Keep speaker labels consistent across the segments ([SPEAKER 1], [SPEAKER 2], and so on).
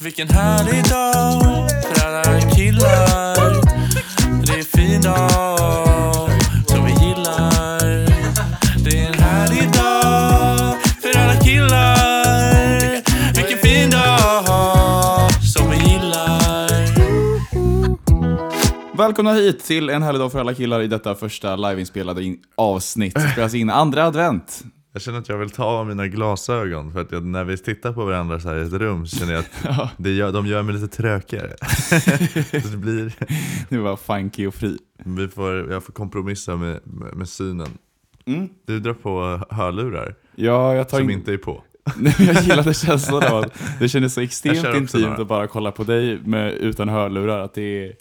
[SPEAKER 1] Vilken härlig dag för alla killar. Det är en fin dag som vi gillar. Det är en härlig dag för alla killar. Vilken fin dag som vi gillar.
[SPEAKER 2] Välkomna hit till en härlig dag för alla killar i detta första liveinspelade in- avsnitt. som Spelas in andra advent.
[SPEAKER 3] Jag känner att jag vill ta av mina glasögon för att jag, när vi tittar på varandra så här i ett rum så känner jag att det gör, de gör mig lite trökigare. Så det blir,
[SPEAKER 2] Nu var funky och fri.
[SPEAKER 3] vi får, jag får kompromissa med, med, med synen.
[SPEAKER 2] Mm.
[SPEAKER 3] Du drar på hörlurar
[SPEAKER 2] Ja, jag tar
[SPEAKER 3] som
[SPEAKER 2] in...
[SPEAKER 3] inte är på.
[SPEAKER 2] Nej, men jag gillade känslan av att det kändes så
[SPEAKER 3] Jag kör
[SPEAKER 2] extremt
[SPEAKER 3] också
[SPEAKER 2] intimt
[SPEAKER 3] några.
[SPEAKER 2] att bara kolla på dig med, utan hörlurar. Att det är,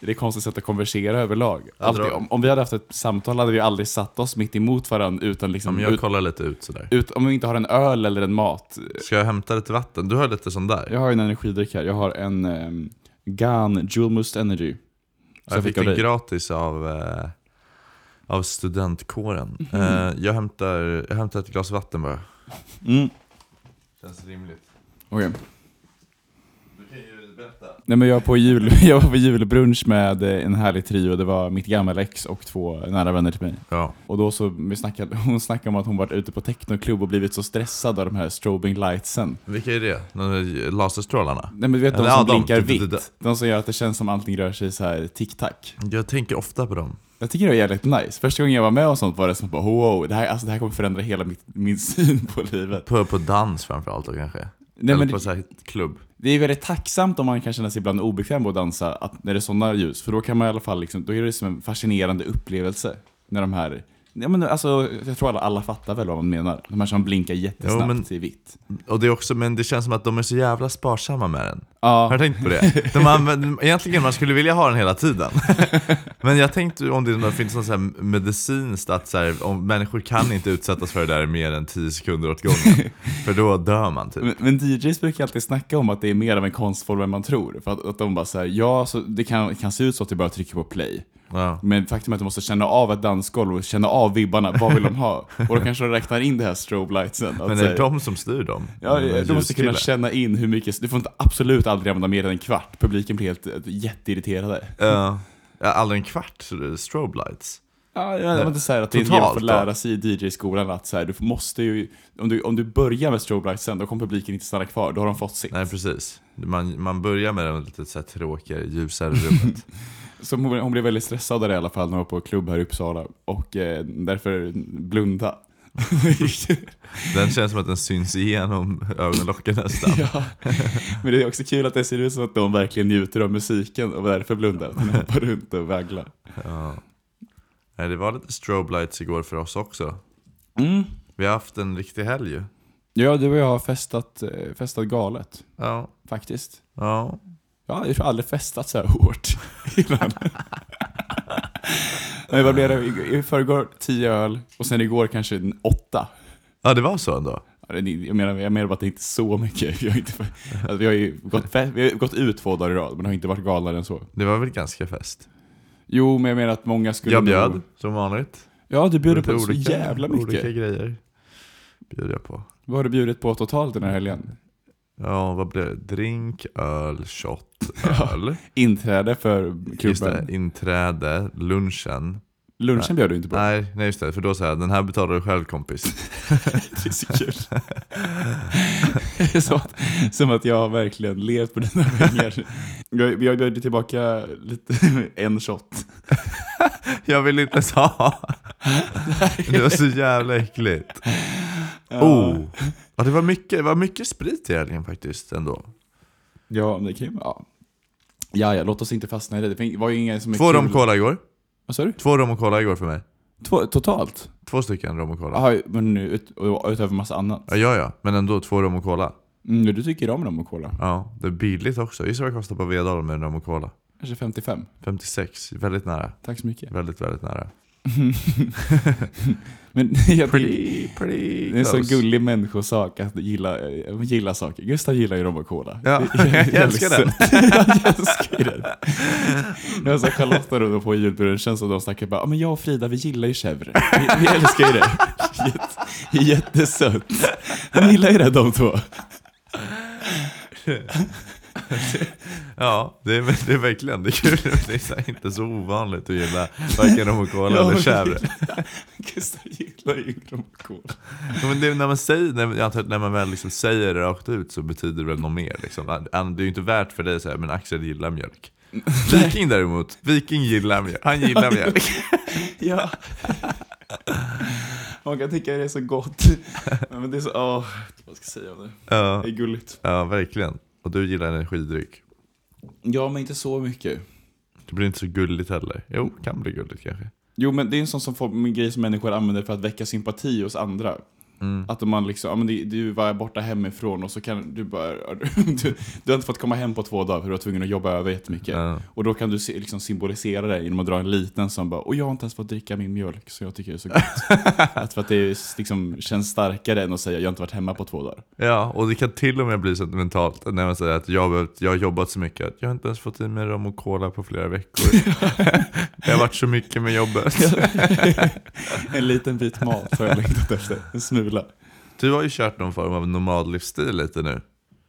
[SPEAKER 2] det är ett konstigt sätt att konversera överlag.
[SPEAKER 3] Jag
[SPEAKER 2] Alltid,
[SPEAKER 3] drar-
[SPEAKER 2] om, om vi hade haft ett samtal hade vi aldrig satt oss mitt emot varandra utan
[SPEAKER 3] Ja,
[SPEAKER 2] liksom...
[SPEAKER 3] men jag
[SPEAKER 2] ut,
[SPEAKER 3] kollar lite ut sådär.
[SPEAKER 2] ut, om vi inte har en öl eller en mat.
[SPEAKER 3] Ska jag hämta lite vatten? Du har lite sån där.
[SPEAKER 2] Jag har en energidryck här. Jag har en um, GAN Jewel Must Energy. Så
[SPEAKER 3] jag fick
[SPEAKER 2] av
[SPEAKER 3] den
[SPEAKER 2] dig.
[SPEAKER 3] gratis av, eh, av studentkåren.
[SPEAKER 2] Mhm.
[SPEAKER 3] Eh, jag, hämtar, jag hämtar ett glas vatten bara.
[SPEAKER 2] Mm.
[SPEAKER 3] Känns rimligt.
[SPEAKER 2] Okej.
[SPEAKER 3] Du kan ju berätta.
[SPEAKER 2] Nej men jag var, på jul, jag var på julbrunch med eh, en härlig trio, det var mitt gamla ex och två nära vänner till mig.
[SPEAKER 3] Ja.
[SPEAKER 2] Och då så, vi snackade, hon snackade om att hon varit ute på technoklubb och blivit så stressad av de här strobing lightsen.
[SPEAKER 3] Vilka är det? De där Laserstrålarna?
[SPEAKER 2] Nej men du vet de
[SPEAKER 3] Ja,
[SPEAKER 2] som
[SPEAKER 3] de.
[SPEAKER 2] blinkar
[SPEAKER 3] typ- Du- du- du-
[SPEAKER 2] vitt? De som gör att det känns som allting rör sig så här tic-tac.
[SPEAKER 3] Jag tänker ofta på dem.
[SPEAKER 2] Jag tycker det är jävligt nice. Första gången jag var med och sånt var det som bara wow, det här, alltså, det här kommer förändra hela mitt, min syn på livet.
[SPEAKER 3] På, på dans framförallt då kanske?
[SPEAKER 2] Nej,
[SPEAKER 3] Eller
[SPEAKER 2] men-
[SPEAKER 3] på så här klubb?
[SPEAKER 2] Det är väldigt tacksamt om man kan känna sig ibland obekväm på att dansa, att när det är sådana ljus. För då kan man i alla fall, liksom, då är det som en fascinerande upplevelse. När de här, ja men alltså, jag tror alla, alla fattar väl vad man menar. De här som blinkar jättesnabbt
[SPEAKER 3] Jo, men-
[SPEAKER 2] i vitt.
[SPEAKER 3] Och det är också, men det känns som att de är så jävla sparsamma med den. Har
[SPEAKER 2] Ja,
[SPEAKER 3] du tänkt på det? De använder, egentligen man skulle vilja ha den hela tiden. Men jag tänkte om det nog finns någon så här medicinskt att så här, om människor kan inte utsättas för det där mer än 10 sekunder åt gången. För då dör man typ.
[SPEAKER 2] men, men DJs brukar alltid snacka om att det är mer av en konstform än man tror. För att, att de bara säger ja, så det kan, kan se ut så att du bara trycker på play.
[SPEAKER 3] Ja.
[SPEAKER 2] Men faktum är att du måste känna av ett dansgolv och känna av vibbarna, vad vill de ha? Och då kanske de räknar in det här strobe lightsen. att
[SPEAKER 3] Men det
[SPEAKER 2] säga-
[SPEAKER 3] är de som styr dem.
[SPEAKER 2] Ja,
[SPEAKER 3] De är
[SPEAKER 2] du måste kunna
[SPEAKER 3] ljuskillar.
[SPEAKER 2] känna in hur mycket, du får inte absolut aldrig använda mer än en kvart. Publiken blir helt eh, jätteirriterade.
[SPEAKER 3] Ja. Ja, aldrig en kvart strobe lights.
[SPEAKER 2] Ja, jag vill inte säga att det är
[SPEAKER 3] Totalt
[SPEAKER 2] en del får
[SPEAKER 3] då?
[SPEAKER 2] lära sig i DJ-skolan att så här, du måste ju, om du, om du börjar med strobe lights sen, då kommer publiken inte stanna kvar, då har de fått sitt.
[SPEAKER 3] Nej precis. Man, man börjar med den lite så här tråkigare, ljusare rummet.
[SPEAKER 2] Så hon, hon blev väldigt stressad där i alla fall när hon var på klubb här i Uppsala och eh, därför blunda.
[SPEAKER 3] Den känns som att den syns igenom ögonlocken nästan.
[SPEAKER 2] ja. Men det är också kul att det ser ut som att de verkligen njuter av musiken och därför blundar. De hoppar runt och vagglar.
[SPEAKER 3] Ja. Nej, det var lite strobe lights igår för oss också.
[SPEAKER 2] Mm.
[SPEAKER 3] Vi har haft en riktig helg ju.
[SPEAKER 2] Ja, du och jag har festat, eh, festat galet
[SPEAKER 3] Ja.
[SPEAKER 2] faktiskt.
[SPEAKER 3] Ja.
[SPEAKER 2] Ja, jag har aldrig festat så här hårt innan. Nej, vad blev det? I- I förrgår tio öl och sen igår kanske en åtta.
[SPEAKER 3] ja, det var så ändå.
[SPEAKER 2] Ja, det- Jag menar, jag menar bara att det är inte är så mycket. Vi har, inte, alltså, vi har ju gått, fe- vi har gått ut två dagar i rad, men har inte varit galnare än så.
[SPEAKER 3] Det var väl ganska fest.
[SPEAKER 2] Jo, men jag menar att många skulle...
[SPEAKER 3] Jag bjöd,
[SPEAKER 2] nog-
[SPEAKER 3] som vanligt.
[SPEAKER 2] Ja, du bjöd på så
[SPEAKER 3] olika-
[SPEAKER 2] jävla mycket.
[SPEAKER 3] Olika grejer bjöd jag på.
[SPEAKER 2] Vad har du bjudit på totalt den här helgen?
[SPEAKER 3] Ja, vad blev det? Drink, öl, shot,
[SPEAKER 2] Ah,
[SPEAKER 3] öl.
[SPEAKER 2] Inträde för
[SPEAKER 3] Just det,
[SPEAKER 2] klubben.
[SPEAKER 3] inträde, lunchen.
[SPEAKER 2] Lunchen bjöd du inte på.
[SPEAKER 3] Nej, nej just det, för då sa jag den här betalar du själv kompis.
[SPEAKER 2] Det är så kul. Det är som, att, som att jag har verkligen levt på dina pengar. Jag, jag bjöd tillbaka lite, en shot.
[SPEAKER 3] Jag vill inte ens ha. Det var så jävla äckligt.
[SPEAKER 2] Ja.
[SPEAKER 3] Oh. Ja, det var mycket, det var mycket sprit i helgen faktiskt ändå.
[SPEAKER 2] Ja, men det kan ju ja. ja, ja, låt oss inte fastna i det. Det fin- var ju ingen som är
[SPEAKER 3] Två
[SPEAKER 2] kul.
[SPEAKER 3] rom och cola igår.
[SPEAKER 2] Vad sa du?
[SPEAKER 3] Två rom och cola igår för mig.
[SPEAKER 2] Två, totalt?
[SPEAKER 3] Två stycken rom och cola.
[SPEAKER 2] Jaha, men nu ut, och utöver massa annat.
[SPEAKER 3] Ja, ja, ja. Men ändå två rom och cola.
[SPEAKER 2] Mm, du tycker om dem och cola?
[SPEAKER 3] Ja, det är billigt också. Gissa vad det kostar på Vedala med en rom och cola.
[SPEAKER 2] Kanske 55?
[SPEAKER 3] 56. Väldigt nära.
[SPEAKER 2] Tack så mycket.
[SPEAKER 3] Väldigt, väldigt nära.
[SPEAKER 2] Men jag tycker,
[SPEAKER 3] Pretty, pretty
[SPEAKER 2] det är en så
[SPEAKER 3] close.
[SPEAKER 2] gullig människosak att gilla, eh, gilla saker. Gustav gillar ju rom och cola.
[SPEAKER 3] Ja,
[SPEAKER 2] Det är jävligt
[SPEAKER 3] jag älskar den.
[SPEAKER 2] sött. jag älskar den. Jag sa Charlotta då på julbrunchen så de snackade bara, "Ja, men jag och Frida vi gillar ju chèvre. Vi, vi älskar ju det. Jätte, jättesött. De gillar ju det de två.
[SPEAKER 3] Ja, det är, det är verkligen det är kul. Det är så här inte så ovanligt att gilla varken rom och cola eller chèvre.
[SPEAKER 2] Gustav gillar ju Grom och Cola.
[SPEAKER 3] Ja, Men det, när, man säger, när, jag antar att när man väl liksom säger det rakt ut så betyder det väl något mer. Liksom. An- Det är ju inte värt för dig att säga men Axel gillar mjölk. Viking däremot, Viking gillar mjölk. Han gillar mjölk.
[SPEAKER 2] Ja. Man kan tycka det är så gott. Men det är så, åh, vad ska jag säga om det?
[SPEAKER 3] Ja,
[SPEAKER 2] Det är gulligt.
[SPEAKER 3] ja, verkligen. Och du gillar energidryck.
[SPEAKER 2] Ja, men inte så mycket.
[SPEAKER 3] Det blir inte så gulligt heller. Jo, kan bli gulligt kanske.
[SPEAKER 2] Jo, men det är en sån som folk, en grej som människor använder för att väcka sympati hos andra. Att man liksom, ja men det- du var borta hemifrån och så kan du bara, du, du har inte fått komma hem på två dagar för du var tvungen att jobba över jättemycket.
[SPEAKER 3] Ja.
[SPEAKER 2] Och då kan du se, liksom symbolisera det genom att dra en liten som bara, och jag har inte ens fått dricka min mjölk så jag tycker det är så gott. att för att det är, liksom, känns starkare än att säga, jag har inte varit hemma på två dagar.
[SPEAKER 3] Ja, och det kan till och med bli sentimentalt när man säger att jag har, behövt, jag har jobbat så mycket att jag har inte ens fått i mig rom och cola på flera veckor. det har varit så mycket med jobbet.
[SPEAKER 2] en liten bit mat har jag längtat efter, en smula.
[SPEAKER 3] Du har ju kört någon form av nomadlivsstil lite nu.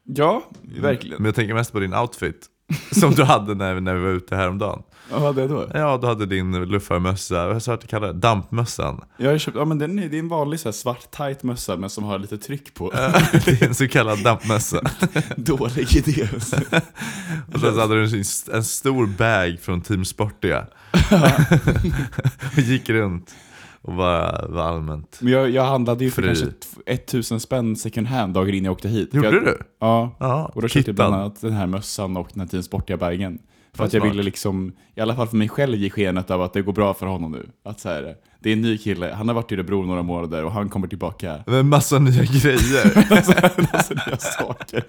[SPEAKER 2] Ja, verkligen.
[SPEAKER 3] Men jag tänker mest på din outfit. Som du hade när, när vi var ute häromdagen.
[SPEAKER 2] Vad hade jag då?
[SPEAKER 3] Ja, du hade din luffarmössa, vad sa du att du kallade det? Dampmössan.
[SPEAKER 2] Jag har köpt, ja men den är, det är en vanlig så här svart tight mössa men som har lite tryck på.
[SPEAKER 3] Det är en så kallad dampmössa.
[SPEAKER 2] Dålig idé.
[SPEAKER 3] Och sen så hade du en, en stor bag från Team Sportiga. och gick runt och bara var allmänt.
[SPEAKER 2] Men jag, jag handlade ju för
[SPEAKER 3] Fri.
[SPEAKER 2] kanske t- 1000 spänn second hand dagen innan jag åkte hit. För
[SPEAKER 3] Gjorde
[SPEAKER 2] jag,
[SPEAKER 3] du?
[SPEAKER 2] Ja.
[SPEAKER 3] Ja,
[SPEAKER 2] Och då köpte jag bland
[SPEAKER 3] kittan.
[SPEAKER 2] annat den här mössan och den här Team sportiga bagen. För
[SPEAKER 3] Vad
[SPEAKER 2] att jag
[SPEAKER 3] smart.
[SPEAKER 2] ville liksom, i alla fall för mig själv, ge skenet av att det går bra för honom nu. Att så här, det är en ny kille, han har varit i Örebro några månader och han kommer tillbaka.
[SPEAKER 3] Med massa nya grejer.
[SPEAKER 2] Alltså, alltså nya saker.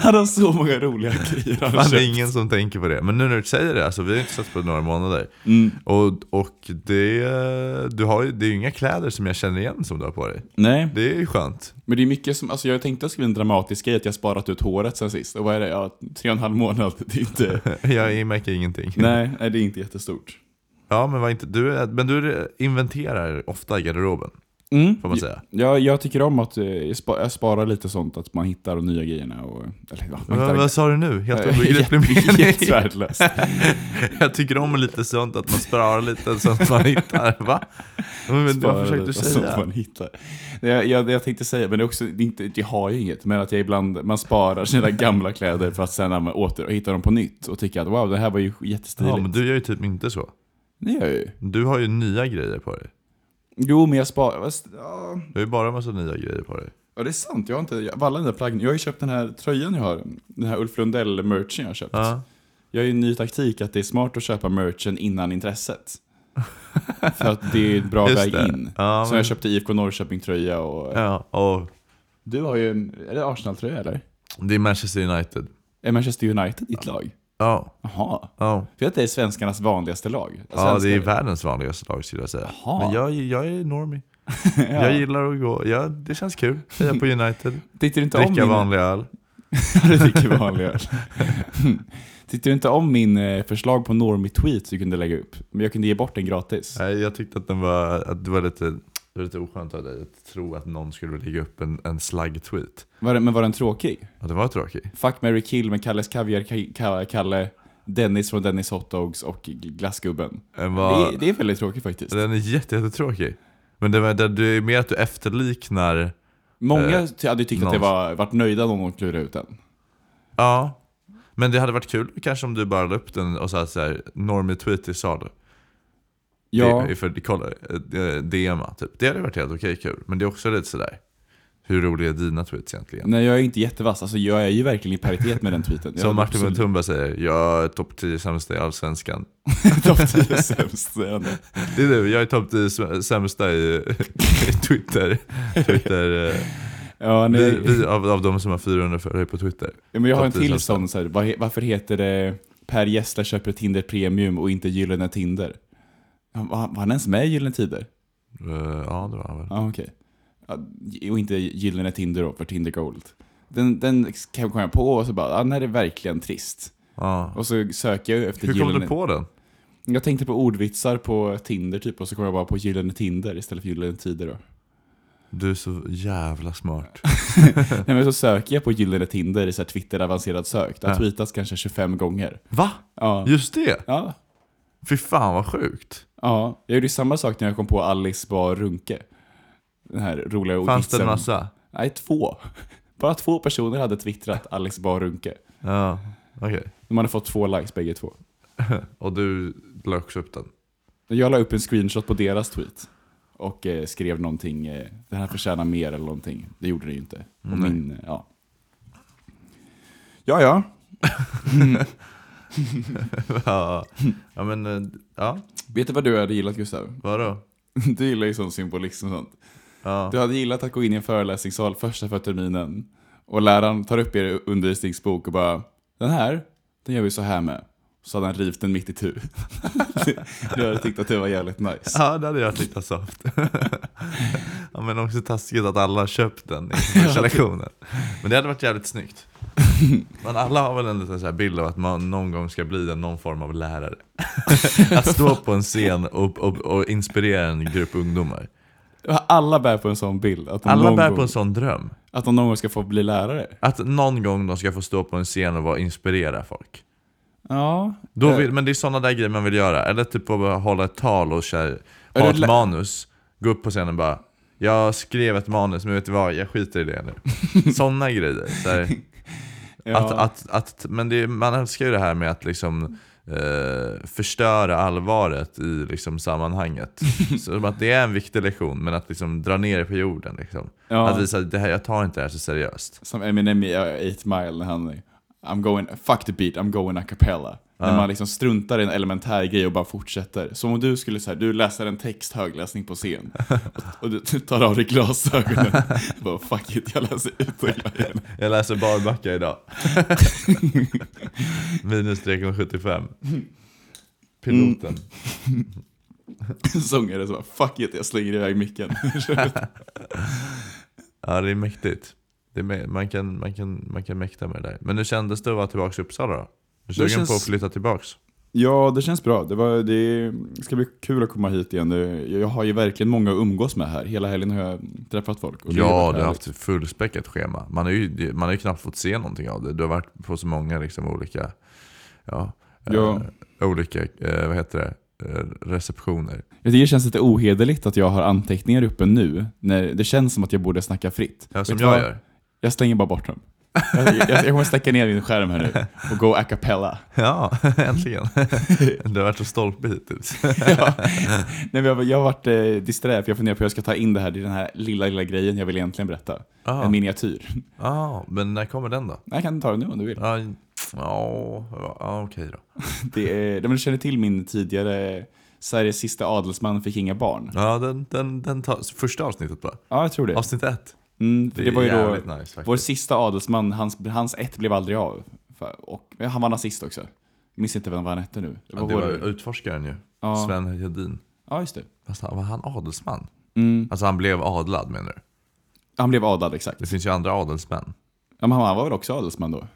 [SPEAKER 2] Han har så många roliga grejer han har
[SPEAKER 3] Fan, det är
[SPEAKER 2] köpt.
[SPEAKER 3] ingen som tänker på det. Men nu när du säger det, alltså, vi har inte sett på några månader.
[SPEAKER 2] Mm.
[SPEAKER 3] Och, och det, du har, ju- det är ju inga kläder som jag känner igen som du har på dig.
[SPEAKER 2] Nej.
[SPEAKER 3] Det är ju skönt.
[SPEAKER 2] Men det är mycket som, alltså jag tänkte att det skulle bli en dramatisk grej att jag sparat ut håret sen sist. Och vad är det? Ja, tre och en halv månad. Det är inte,
[SPEAKER 3] Jag märker ingenting.
[SPEAKER 2] nej, nej, det är inte jättestort.
[SPEAKER 3] Ja, men, var inte, du, är- men du inventerar ofta garderoben, får man säga.
[SPEAKER 2] Jag, Mm. jag tycker om att eh, jag, spa, jag sparar lite sånt, att man hittar de nya grejerna och... Eller ja, man
[SPEAKER 3] Vad,
[SPEAKER 2] hittar...
[SPEAKER 3] vad sa du nu? Helt
[SPEAKER 2] Eh,
[SPEAKER 3] obegriplig
[SPEAKER 2] Helt
[SPEAKER 3] mening.
[SPEAKER 2] värdelöst.
[SPEAKER 3] Jag tycker om lite sånt, att man sparar lite sånt man hittar. Va? Men, men, vad
[SPEAKER 2] Sparar
[SPEAKER 3] försökte du
[SPEAKER 2] lite sånt
[SPEAKER 3] säga?
[SPEAKER 2] Man hittar. Det jag, jag, det jag tänkte säga, men det är också, det är inte, jag har ju inget, men att jag ibland, man sparar sina gamla kläder för att sen använda- åter och hitta dem på nytt och tycka att wow, det här var ju jättestiligt.
[SPEAKER 3] Ja, men du gör ju typ inte så.
[SPEAKER 2] Det gör jag ju.
[SPEAKER 3] Du har ju nya grejer på dig.
[SPEAKER 2] Jo, men jag sparar... Ja.
[SPEAKER 3] Du har ju bara massa nya grejer på dig.
[SPEAKER 2] Ja det är sant, jag har inte, jag, alla dina plagg, jag har ju köpt den här tröjan jag har, den här Ulf Lundell-merchen jag har köpt.
[SPEAKER 3] Ja.
[SPEAKER 2] Jag har ju en ny taktik att det är smart att köpa merchen innan intresset. För att det är en bra
[SPEAKER 3] Just
[SPEAKER 2] väg
[SPEAKER 3] det.
[SPEAKER 2] in.
[SPEAKER 3] Ja,
[SPEAKER 2] Så
[SPEAKER 3] men-
[SPEAKER 2] jag köpte IFK Norrköping-tröja och...
[SPEAKER 3] Ja, och
[SPEAKER 2] Du har ju en, är det Arsenal-tröja eller?
[SPEAKER 3] det är Manchester United.
[SPEAKER 2] Är Manchester United ditt lag?
[SPEAKER 3] Ja,
[SPEAKER 2] Jaha.
[SPEAKER 3] ja.
[SPEAKER 2] För att det är svenskarnas vanligaste lag.
[SPEAKER 3] ja det är
[SPEAKER 2] Svenskar.
[SPEAKER 3] världens vanligaste lag skulle jag säga.
[SPEAKER 2] Jaha.
[SPEAKER 3] Men jag, jag är normie. Jag gillar att gå, ja, det känns kul. Heja på United,
[SPEAKER 2] Tyckte du inte om
[SPEAKER 3] dricka
[SPEAKER 2] min...
[SPEAKER 3] vanlig öl.
[SPEAKER 2] Ja, det dricker vanlig öl. Tyckte du inte om min eh, förslag på normie-tweet du kunde lägga upp? Men jag kunde ge bort den gratis.
[SPEAKER 3] Nej, jag tyckte att, den var, att det, var lite, det var lite oskönt av dig att tro att någon skulle lägga upp en, en slagg-tweet.
[SPEAKER 2] Var den, men var den tråkig?
[SPEAKER 3] Ja, det var tråkigt.
[SPEAKER 2] Fuck, Mary kill med Kalles Kaviar, Ka- Ka- Kalle, Dennis från Dennis Hotdogs och G- Glassgubben.
[SPEAKER 3] Den, var,
[SPEAKER 2] Det, är- det är väldigt tråkigt faktiskt.
[SPEAKER 3] den är jätte, jättetråkig. Men det, var, det, det är mer att du efterliknar,
[SPEAKER 2] Många
[SPEAKER 3] Eh,
[SPEAKER 2] ty- hade ju tyckt att det var, varit nöjda om de klurade ut den.
[SPEAKER 3] ja. Men det hade varit kul kanske om du bara la upp den och sa såhär, normie-tweetie sa det.
[SPEAKER 2] Ja,
[SPEAKER 3] Det, för, kolla, eh, DMa typ. Det hade varit helt okej kul. Men det är också lite sådär, hur roliga är dina tweets egentligen?
[SPEAKER 2] nej jag är inte jättevass. Alltså jag är ju verkligen i paritet med den tweeten. Jag
[SPEAKER 3] Som
[SPEAKER 2] hade
[SPEAKER 3] Martin
[SPEAKER 2] absolut
[SPEAKER 3] Mutumba säger, jag är topp 10 sämsta i Allsvenskan.
[SPEAKER 2] topp 10 sämst. säger han.
[SPEAKER 3] Det är du, jag är topp 10 sm- sämsta i, i Twitter. Twitter eh,
[SPEAKER 2] Ja, nej.
[SPEAKER 3] vi, vi av, av de som har 400 följare på Twitter.
[SPEAKER 2] Ja, men jag har en
[SPEAKER 3] topp 10
[SPEAKER 2] till
[SPEAKER 3] sämsta.
[SPEAKER 2] sån, så här, var, varför heter det Per Gessle köper Tinder Premium och inte Gyllene Tinder? Ja, Var, var han ens med i Gyllene Tider?
[SPEAKER 3] Eh, ja, det var han väl.
[SPEAKER 2] Ja, okej. Ja, och inte Gyllene Tinder då, för Tinder Gold. Den, den kom jag på och så bara, ah, nej det är verkligen trist.
[SPEAKER 3] Ja.
[SPEAKER 2] Och så söker jag efter
[SPEAKER 3] Hur kom
[SPEAKER 2] Gyllene...
[SPEAKER 3] du på den?
[SPEAKER 2] Jag tänkte på ordvitsar på Tinder typ, och så kom jag bara på Gyllene Tinder istället för Gyllene Tider då.
[SPEAKER 3] Du är så jävla smart.
[SPEAKER 2] Nej, men så söker jag på Gyllene Tinder i så här Twitter-avancerad sök. Det har
[SPEAKER 3] Ja.
[SPEAKER 2] tweetats kanske 25 gånger.
[SPEAKER 3] Va?
[SPEAKER 2] Ja.
[SPEAKER 3] Just det?
[SPEAKER 2] Ja.
[SPEAKER 3] Fy fan vad sjukt.
[SPEAKER 2] ja. Jag gjorde ju samma sak när jag kom på Alice Bar Runke. Den här roliga
[SPEAKER 3] Fanns det en
[SPEAKER 2] ordvitsen.
[SPEAKER 3] massa?
[SPEAKER 2] Nej, två. Bara två personer hade twittrat Alice Bar Runke.
[SPEAKER 3] Ja, okej.
[SPEAKER 2] De hade fått två likes bägge två.
[SPEAKER 3] Och du la också upp den?
[SPEAKER 2] Jag la upp en screenshot på deras tweet och eh, skrev någonting, eh, den här förtjänar mer eller någonting. Det gjorde det ju inte. Och
[SPEAKER 3] Nej.
[SPEAKER 2] min, eh, ja. Ja, ja.
[SPEAKER 3] ja, ja, men eh, ja,
[SPEAKER 2] Vet du vad du hade gillat Gustav?
[SPEAKER 3] vadå?
[SPEAKER 2] Du gillar ju sån symbolism och sånt.
[SPEAKER 3] Ja.
[SPEAKER 2] Du hade gillat att gå in i en föreläsningssal första för terminen och läraren tar upp er undervisningsbok och bara Den här, den gör vi så här med. Så hade han rivit den mitt i tu. du hade tyckt att det var jävligt nice.
[SPEAKER 3] Ja, det hade jag tyckt var soft. ja, men också taskigt att alla har köpt den inför
[SPEAKER 2] typ.
[SPEAKER 3] första lektionen. Men det hade varit jävligt snyggt. Men alla har väl en liten så här bild av att man någon gång ska bli någon form av lärare. att stå på en scen och, och, och inspirera en grupp ungdomar.
[SPEAKER 2] Alla bär på en sån bild. Att de,
[SPEAKER 3] Alla
[SPEAKER 2] någon
[SPEAKER 3] bär
[SPEAKER 2] gång,
[SPEAKER 3] på en sån dröm.
[SPEAKER 2] att de någon gång ska få bli lärare.
[SPEAKER 3] Att någon gång de ska få stå på en scen och vara, inspirera folk.
[SPEAKER 2] Ja.
[SPEAKER 3] Då
[SPEAKER 2] Eh,
[SPEAKER 3] vill, men det är sådana där grejer man vill göra. Eller typ bara hålla ett tal och så här,
[SPEAKER 2] Är
[SPEAKER 3] ha
[SPEAKER 2] det
[SPEAKER 3] ett
[SPEAKER 2] lä-
[SPEAKER 3] manus. Gå upp på scenen och bara Jag skrev ett manus men vet du vad, jag skiter i det nu. sådana grejer. Så här,
[SPEAKER 2] ja.
[SPEAKER 3] att, att, att, men det, är- man älskar ju det här med att liksom eh, förstöra allvaret i liksom, sammanhanget. så att det är en viktig lektion men att liksom dra ner det på jorden. Liksom.
[SPEAKER 2] Ja.
[SPEAKER 3] Att visa att det här, jag tar inte det här så seriöst.
[SPEAKER 2] Som Eminem i uh, 8 Mile när han är, I'm going, fuck the beat, I'm going a cappella. När man liksom struntar i en elementär grej och bara fortsätter. Som om du skulle säga, du läser en text högläsning på scen. Och, och du tar av dig glasögonen. Jag bara fuck it, jag läser utan glasögon.
[SPEAKER 3] Jag läser Barbacka idag. Minus 3,75. Piloten.
[SPEAKER 2] Sångare som bara fuck it, jag slänger iväg micken.
[SPEAKER 3] Ja, det är mäktigt. Det är, mä- man, kan, man, kan, man kan mäkta med det där. Men hur kändes det att vara tillbaka i Uppsala då? Är sugen
[SPEAKER 2] känns-
[SPEAKER 3] på att flytta tillbaks?
[SPEAKER 2] ja, det känns bra. Det, var, det ska bli kul att komma hit igen. Det- Jag har ju verkligen många att umgås med här. Hela helgen har jag träffat folk. och det har
[SPEAKER 3] Ja,
[SPEAKER 2] varit
[SPEAKER 3] du har
[SPEAKER 2] härligt.
[SPEAKER 3] haft ett fullspäckat schema. Man har, ju, man har ju knappt fått se någonting av det. Du har varit på så många liksom, olika, ja, eh,
[SPEAKER 2] Ja.
[SPEAKER 3] olika eh, vad heter det? Eh, receptioner.
[SPEAKER 2] Jag tycker det känns lite ohederligt att jag har anteckningar uppe nu, när det känns som att jag borde snacka fritt.
[SPEAKER 3] Ja, som
[SPEAKER 2] Vet du
[SPEAKER 3] jag
[SPEAKER 2] vad?
[SPEAKER 3] gör.
[SPEAKER 2] Jag slänger bara bort dem. Jag, jag, jag kommer släcka ner din skärm här nu och gå a cappella.
[SPEAKER 3] Ja, äntligen. du har varit så stolpe hittills.
[SPEAKER 2] Ja. Nej, men jag, jag har varit eh, disträ, för jag funderar på hur jag ska ta in det här, det är den här lilla, lilla grejen jag vill egentligen berätta.
[SPEAKER 3] Ah.
[SPEAKER 2] En miniatyr.
[SPEAKER 3] Ja, men när kommer den då?
[SPEAKER 2] Nej, jag kan ta det nu om du vill.
[SPEAKER 3] Ja, ja, ja okej då.
[SPEAKER 2] Det är, nej, men du känner till min tidigare Sveriges sista adelsman fick inga barn.
[SPEAKER 3] Ja, den, den, den tas, första avsnittet bara.
[SPEAKER 2] Ja, jag tror det.
[SPEAKER 3] Avsnitt ett.
[SPEAKER 2] Mm, för det var ju då
[SPEAKER 3] jävligt nice faktiskt.
[SPEAKER 2] vår sista adelsman, hans, hans ett blev aldrig av. För- Och, men han var nazist också. Jag minns inte vem vad han hette nu.
[SPEAKER 3] ja, det
[SPEAKER 2] vår-
[SPEAKER 3] var utforskaren ju.
[SPEAKER 2] Ja.
[SPEAKER 3] Sven Hedin.
[SPEAKER 2] Ja, just det.
[SPEAKER 3] Fast han, var han adelsman?
[SPEAKER 2] Mm.
[SPEAKER 3] Alltså han blev adlad menar du?
[SPEAKER 2] Han blev adlad, exakt.
[SPEAKER 3] Det finns ju andra adelsmän.
[SPEAKER 2] Ja, men han han var väl också adelsman då?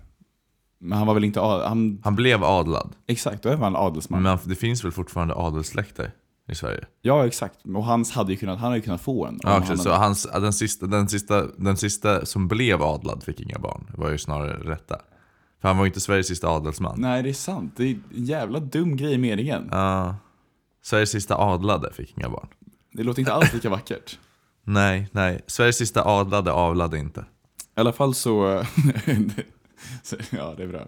[SPEAKER 2] Men han var väl inte adel... Han,
[SPEAKER 3] Han blev adlad.
[SPEAKER 2] exakt, då var han adelsman.
[SPEAKER 3] Men det finns väl fortfarande adelssläkter i Sverige?
[SPEAKER 2] Ja, exakt. Och hans hade ju kunnat, han hade ju kunnat få en. om
[SPEAKER 3] Ja, okej,
[SPEAKER 2] han
[SPEAKER 3] så hans, den, sista, den, sista, den sista som blev adlad fick inga barn. Det var ju snarare rätta. För han var ju inte Sveriges sista adelsman.
[SPEAKER 2] Nej, det är sant. Det är en jävla dum grej i meningen.
[SPEAKER 3] Ja. Sveriges sista adlade fick inga barn.
[SPEAKER 2] Det låter inte alls lika vackert.
[SPEAKER 3] Nej, nej. Sveriges sista adlade avlade inte.
[SPEAKER 2] I alla fall så... så ja, det är bra.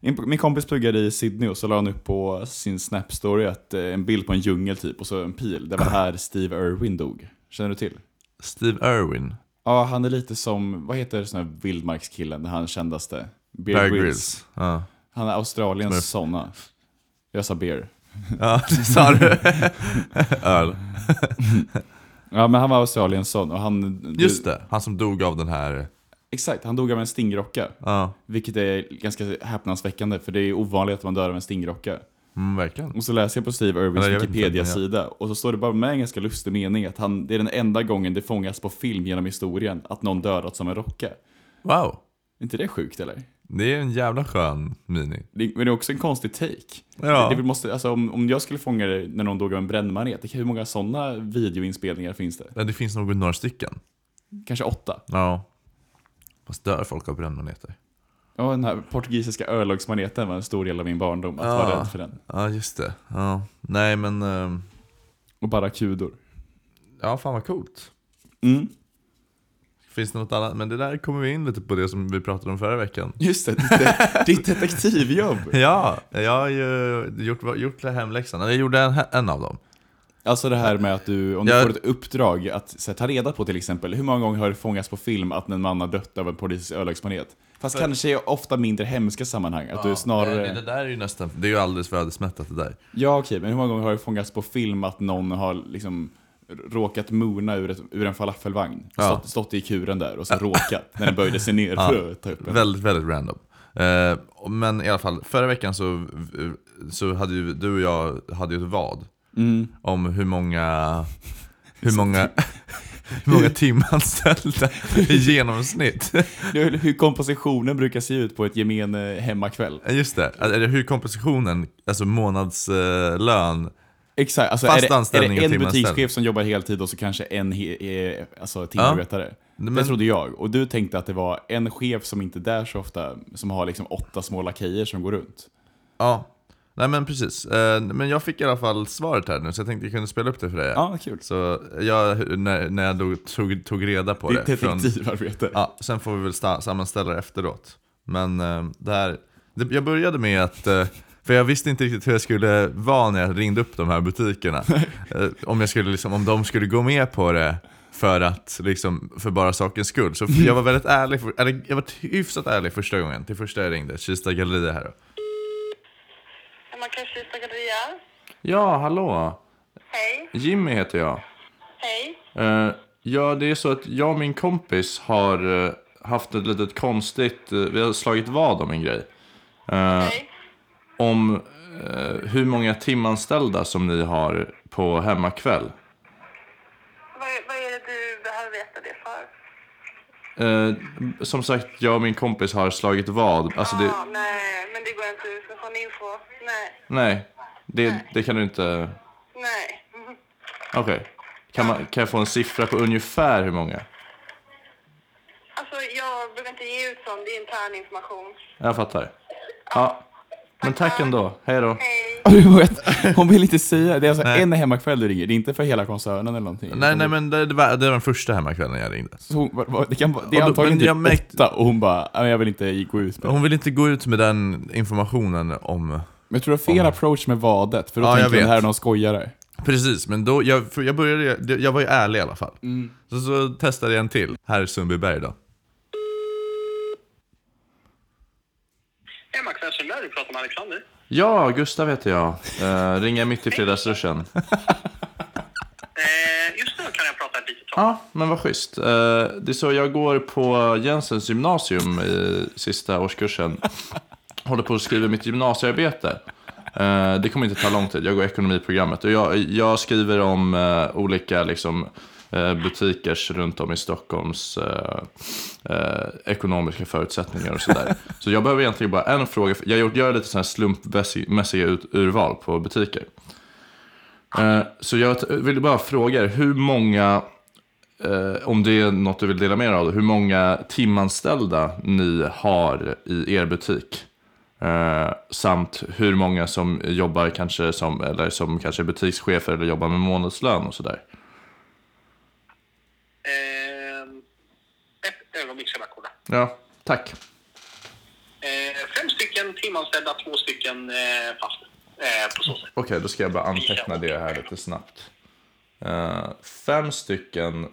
[SPEAKER 2] Min- Min kompis pluggade i Sydney och så la han upp på sin Snap-story att, eh, en bild på en djungel typ och så en pil. Det var här Steve Irwin dog. Känner du till?
[SPEAKER 3] Steve Irwin.
[SPEAKER 2] Ja, han är lite som, vad heter sån här vildmarkskillen, han kändaste? Bear,
[SPEAKER 3] Bear
[SPEAKER 2] Grylls.
[SPEAKER 3] Grylls. Ja.
[SPEAKER 2] Han är Australiens såna. Jag sa beer.
[SPEAKER 3] ja, det sa du. Öl.
[SPEAKER 2] Ja, men han var Australiens son och han...
[SPEAKER 3] Just det, han som dog av den här...
[SPEAKER 2] Exakt, han dog av en stingrocka.
[SPEAKER 3] Ja,
[SPEAKER 2] Vilket är ganska häpnadsväckande, för det är ovanligt att man dör av en stingrocka.
[SPEAKER 3] mm, verkligen.
[SPEAKER 2] Och så läser jag på Steve Irwins
[SPEAKER 3] Eller jag vet inte,
[SPEAKER 2] Wikipedia-sida och så står det bara med en ganska lustig mening att han, det är den enda gången det fångas på film genom historien att någon dödats som en rocka.
[SPEAKER 3] Wow.
[SPEAKER 2] Är inte det sjukt eller?
[SPEAKER 3] Det är en jävla skön mini.
[SPEAKER 2] Det, men det är också en konstig take.
[SPEAKER 3] Ja.
[SPEAKER 2] Det, det vi måste, alltså, om, om jag skulle fånga det när någon dog av en brännmanet, det- hur många sådana videoinspelningar finns det?
[SPEAKER 3] Ja, Det finns nog några stycken.
[SPEAKER 2] Kanske åtta?
[SPEAKER 3] Ja. Fast dör folk av brännmaneter?
[SPEAKER 2] Ja, den här portugisiska örlogsmaneten var en stor del av min barndom, att vara
[SPEAKER 3] Ja.
[SPEAKER 2] rädd för den.
[SPEAKER 3] Ja, just det. Ja. Nej, men... ehm,
[SPEAKER 2] Och bara kudor.
[SPEAKER 3] Ja, fan vad coolt.
[SPEAKER 2] Mm.
[SPEAKER 3] Finns det något annat? Men det där kommer vi in lite på det som vi pratade om förra veckan.
[SPEAKER 2] Just det, ditt, ditt detektivjobb.
[SPEAKER 3] Ja, jag har ju gjort, gjort hemläxan. Eller jag gjorde en, en av dem.
[SPEAKER 2] Alltså det här med att du, om du
[SPEAKER 3] Jag-
[SPEAKER 2] får ett uppdrag att så här, ta reda på till exempel, hur många gånger har det fångats på film att en man har dött av en portugisisk örlogsmanet? Fast kanske i ofta mindre hemska sammanhang, att du snarare...
[SPEAKER 3] Det, det där är ju nästan... Det är ju alldeles för ödesmättat det där.
[SPEAKER 2] Ja okej, men hur många gånger har det fångats på film att någon har liksom råkat mona ur, ett, ur en falafelvagn?
[SPEAKER 3] Ja.
[SPEAKER 2] Stått, stått i kuren där och så råkat när den böjde sig ner för att ta upp den.
[SPEAKER 3] Väldigt, väldigt random. Eh, och- men i alla fall, förra veckan så, så hade ju du och jag hade ju ett vad.
[SPEAKER 2] Mm.
[SPEAKER 3] Om hur många, hur många, hur många timanställda i genomsnitt.
[SPEAKER 2] Hur, hur kompositionen brukar se ut på ett gemene hemmakväll.
[SPEAKER 3] Just det, eller hur kompensationen, alltså månadslön.
[SPEAKER 2] Exakt, alltså
[SPEAKER 3] Fast
[SPEAKER 2] är det, är
[SPEAKER 3] anställning och
[SPEAKER 2] det en
[SPEAKER 3] timanställning.
[SPEAKER 2] butikschef som jobbar heltid och så kanske en he, eh, alltså, timarbetare? Det
[SPEAKER 3] men-
[SPEAKER 2] trodde jag. Och du tänkte att det var en chef som inte är där så ofta, som har liksom åtta små lakejer som går runt.
[SPEAKER 3] Ja, nej men precis. Eh, men jag fick i alla fall svaret här nu så jag tänkte jag kunde spela upp det för dig.
[SPEAKER 2] Ja, kul.
[SPEAKER 3] Så jag, när, när jag då tog, tog reda på
[SPEAKER 2] Ditt
[SPEAKER 3] det. från-
[SPEAKER 2] detektivarbete.
[SPEAKER 3] Ja, sen får vi väl sta- sammanställa det efteråt. Men eh, det här, det, jag började med att, eh, för jag visste inte riktigt hur jag skulle vara när jag ringde upp de här butikerna. Eh, om, jag skulle, liksom, om de skulle gå med på det för att, liksom, för bara sakens skull. Så jag var väldigt ärlig, för, eller, jag var hyfsat ärlig första gången, till första jag ringde, Kista Galleria här då.
[SPEAKER 4] Man kan Kista galleria.
[SPEAKER 5] Ja, hallå.
[SPEAKER 4] Hej.
[SPEAKER 5] Jimmy heter jag.
[SPEAKER 4] Hej.
[SPEAKER 5] Eh, ja, det är så att jag och min kompis har eh, haft ett litet konstigt... eh, vi har slagit vad om en grej. Eh,
[SPEAKER 4] Hej.
[SPEAKER 5] om eh, hur många timanställda som ni har på hemmakväll.
[SPEAKER 4] Vad, är- vad är det du behöver veta det för?
[SPEAKER 5] Eh, som sagt, jag och min kompis har slagit vad. Alltså det,
[SPEAKER 4] Ah, nej, men det går inte ut med sån info. Nej.
[SPEAKER 5] nej, det, det kan du inte...
[SPEAKER 4] Nej. Mhm.
[SPEAKER 5] Okej. Kan, man- kan jag få en siffra på ungefär hur många?
[SPEAKER 4] Alltså, jag brukar inte ge ut sån. Det är intern information.
[SPEAKER 5] Jag fattar. Ja. Men tack ändå. Hej då.
[SPEAKER 4] Hej.
[SPEAKER 2] Ja, du vet, hon vill inte säga. Det är alltså
[SPEAKER 3] Nej.
[SPEAKER 2] en hemmakväll du ringer, det är inte för hela koncernen eller någonting.
[SPEAKER 3] Nej, nej men det, det, var, det var den första hemmakvällen jag ringde.
[SPEAKER 2] Så hon, vad- vad- det, kan, vara- det är
[SPEAKER 3] Och då-
[SPEAKER 2] antagligen
[SPEAKER 3] men
[SPEAKER 2] typ
[SPEAKER 3] jag märkte-
[SPEAKER 2] åtta och hon bara, "Nej, jag vill inte gå ut med det.
[SPEAKER 3] Hon ville inte gå ut med den informationen om
[SPEAKER 2] Men jag tror det är fel approach med vadet, för då
[SPEAKER 3] Ja, jag
[SPEAKER 2] tänker hon
[SPEAKER 3] vet.
[SPEAKER 2] här är någon skojare.
[SPEAKER 3] Precis, men då, jag, för jag började, jag var ju ärlig i alla fall.
[SPEAKER 5] Mm.
[SPEAKER 3] Så, så testade jag en till, här i Sundbyberg då.
[SPEAKER 6] Hej Eh, Max Westerberg, du pratar med Alexander.
[SPEAKER 5] Ja, Gustav heter jag. Eh, ringer mitt i fredagsruschen.
[SPEAKER 6] Eh, just nu kan jag prata ett litet tag.
[SPEAKER 5] Ja, men vad schysst. Eh, det är så jag går på Jensens gymnasium i sista årskursen. Håller på att skriva mitt gymnasiearbete. Eh, det kommer inte ta lång tid. Jag går ekonomiprogrammet. Och jag, jag skriver om eh, olika liksom, eh, butikers runt om i Stockholms eh, eh, ekonomiska förutsättningar och sådär. Så jag behöver egentligen bara en fråga. Jag gör, gör lite så här slumpmässiga ut- urval på butiker. Eh, så jag t- vill bara fråga er, hur många Eh, om det är något du vill dela med dig av, hur många timanställda ni har i er butik? Eh, samt hur många som jobbar kanske som, eller som kanske är butikschefer eller jobbar med månadslön och sådär.
[SPEAKER 6] Eh, ett ögonblick ska jag bara kolla.
[SPEAKER 5] Ja, tack.
[SPEAKER 6] Eh, fem stycken timanställda, två stycken eh, fast. Eh, på så sätt.
[SPEAKER 5] Okej, då ska jag bara anteckna det här lite snabbt. Eh, fem stycken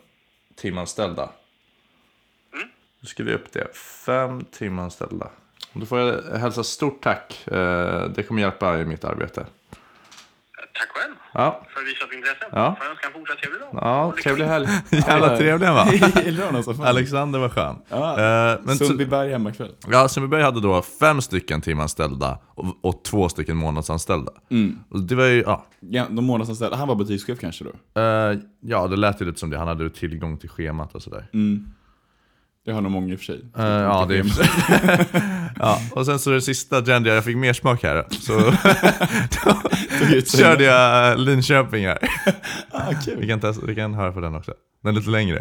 [SPEAKER 5] timanställda. Då skriver jag upp det. Fem timanställda. Då får jag hälsa stort tack. Eh, det kommer hjälpa i mitt arbete.
[SPEAKER 6] Tack själv
[SPEAKER 5] Ja,
[SPEAKER 6] för visat intresse.
[SPEAKER 5] Ja.
[SPEAKER 6] Får jag önska en fortsatt trevlig dag.
[SPEAKER 5] ja trevlig helg.
[SPEAKER 3] Jävla trevlig han var.
[SPEAKER 2] Gillar hon alltså? Fan.
[SPEAKER 3] Alexander var skön.
[SPEAKER 2] Ja.
[SPEAKER 3] Eh, men så,
[SPEAKER 2] Sundbyberg hemmakväll.
[SPEAKER 3] ja, Sundbyberg hade då fem stycken timanställda och, och två stycken månadsanställda.
[SPEAKER 5] Mm.
[SPEAKER 3] Och det var ju, ja.
[SPEAKER 2] Ja, de månadsanställda, han var butikschef kanske då?
[SPEAKER 5] Mm,
[SPEAKER 3] Eh, ja, det lät ju lite som det. Han hade ju tillgång till schemat och sådär.
[SPEAKER 2] Det har nog många i och för sig.
[SPEAKER 3] Eh, ja, det är... ja, och sen så det sista trendiga, jag fick mer smak här. Så körde jag eh, Linköping här.
[SPEAKER 2] Ah, kul.
[SPEAKER 3] Vi kan, testa, vi kan höra på den också. Den är lite längre.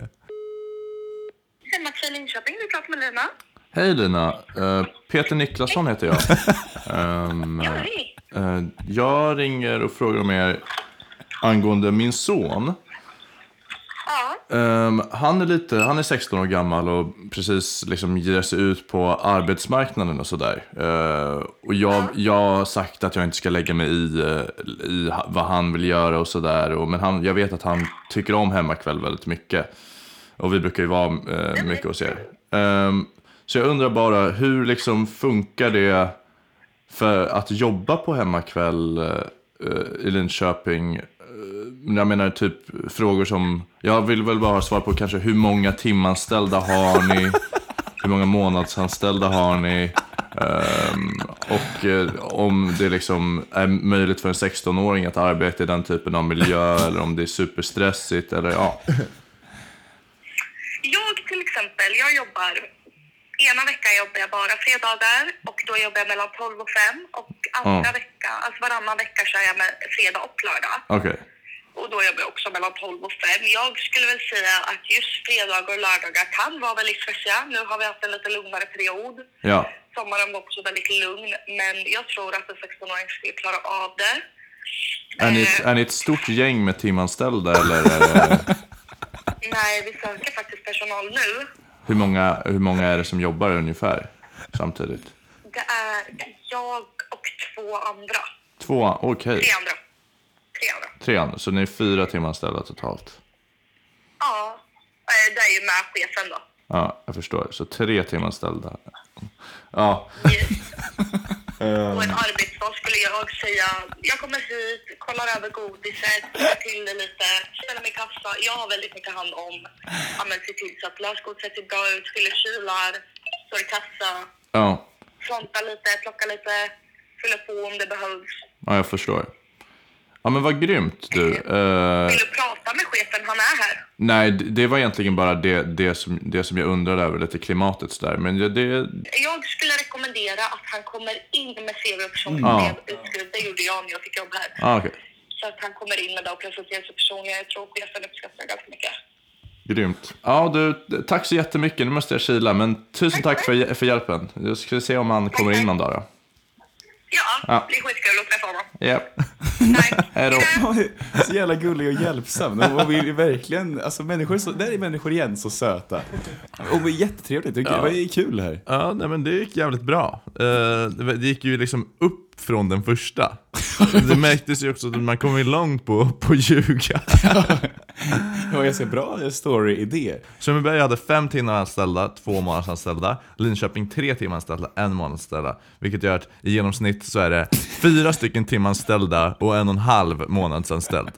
[SPEAKER 4] Hej, Max i Linköping. Du pratar med Lina.
[SPEAKER 5] Hej Lina, Eh, Peter Niklasson heter jag. Ehm,
[SPEAKER 4] Ja, hej.
[SPEAKER 5] eh, jag ringer och frågar om er angående min son.
[SPEAKER 4] Ja,
[SPEAKER 5] Ehm, han, är lite, han är 16 år gammal och precis liksom ger sig ut på arbetsmarknaden och sådär. Ehm, och jag, jag har sagt att jag inte ska lägga mig i, eh, i ha- vad han vill göra och sådär. Och- Men han, jag vet att han tycker om hemmakväll väldigt mycket. Och vi brukar ju vara eh, mycket hos er. Ehm, så jag undrar bara, hur liksom funkar det för att jobba på hemmakväll eh, i Linköping? Men Jag menar typ frågor som, jag vill väl bara ha svar på kanske hur många timanställda har ni? Hur många månadsanställda har ni? Ehm, och eh, om det liksom är möjligt för en 16-åring att arbeta i den typen av miljö eller om det är superstressigt eller ja.
[SPEAKER 4] jag till exempel, jag jobbar... Ena veckan jobbar jag bara fredagar och då jobbar jag mellan 12 och 5. Och andra
[SPEAKER 5] Ja.
[SPEAKER 4] veckan, alltså varannan vecka kör jag med fredag och lördag.
[SPEAKER 5] Okej.
[SPEAKER 4] Och då jobbar jag också mellan 12 och 5. Jag skulle väl säga att just fredagar och lördagar kan vara väldigt stressiga. Nu har vi haft en lite lugnare period.
[SPEAKER 5] Ja.
[SPEAKER 4] Sommaren var också väldigt lugn, men jag tror att en 16-åring skulle klara av det.
[SPEAKER 5] Är ni,
[SPEAKER 4] Eh,
[SPEAKER 5] ett, är ni ett stort gäng med timanställda eller eh,
[SPEAKER 4] Nej, vi söker faktiskt personal nu.
[SPEAKER 5] hur, många, hur många är det som jobbar ungefär samtidigt?
[SPEAKER 4] Det är jag och två andra.
[SPEAKER 5] Två, okej.
[SPEAKER 4] Tre andra. Tre andra.
[SPEAKER 5] Tre, så ni är fyra timanställda totalt?
[SPEAKER 4] Ja, eh, det är ju med chefen då.
[SPEAKER 5] Ja, jag förstår. Så tre timmar ställda. Ja,
[SPEAKER 4] Och en arbetsdag skulle jag säga, jag kommer hit, kollar över godiset, ser till det lite, ställer mig i kassa. Jag har väldigt mycket hand om, ja men se till så att lösgodset ser bra ut, fyller kylar, står i kassa,
[SPEAKER 5] ja,
[SPEAKER 4] frontar lite, plockar lite, fyller på om det behövs.
[SPEAKER 5] ja jag förstår. Ja men vad grymt du. Eh,
[SPEAKER 4] Vill du prata med chefen? Han är här.
[SPEAKER 5] nej, d- det var egentligen bara det, det, som, det som jag undrade över, lite klimatet så där. Men det, det,
[SPEAKER 4] Jag skulle rekommendera att han kommer in med CV och
[SPEAKER 5] Ja.
[SPEAKER 4] personlighet utskrivet. Det gjorde jag när jag fick jobb här.
[SPEAKER 5] ah, okej.
[SPEAKER 4] Så att han kommer in med det och presenterar sig personligen. Jag tror chefen uppskattar det ganska mycket.
[SPEAKER 5] grymt. Ja du, tack så jättemycket. Nu måste jag kila, men tusen tack för, för hjälpen. Jag ska se om han kommer in någon dag då.
[SPEAKER 4] Ja,
[SPEAKER 5] Ja.
[SPEAKER 4] det blir skitkul att träffa honom.
[SPEAKER 5] Ja,
[SPEAKER 4] Nej.
[SPEAKER 5] hej då.
[SPEAKER 2] Så jävla gullig och hjälpsam. De vill ju verkligen, alltså människor, är så, där är människor igen så söta. Och det är jättetrevligt, det är det är kul det här.
[SPEAKER 3] Ja, nej, men det gick jävligt bra. Eh, det var- det gick ju liksom upp från den första. Det märktes ju också att man kom ju långt på på ljuga.
[SPEAKER 2] Det var ganska bra story-idé.
[SPEAKER 3] Sundbyberg hade fem timmar anställda, två månadsanställda. Linköping tre timmar anställda, en månadsanställda. Vilket gör att i genomsnitt så är det fyra stycken timanställda och en och en halv månadsanställd.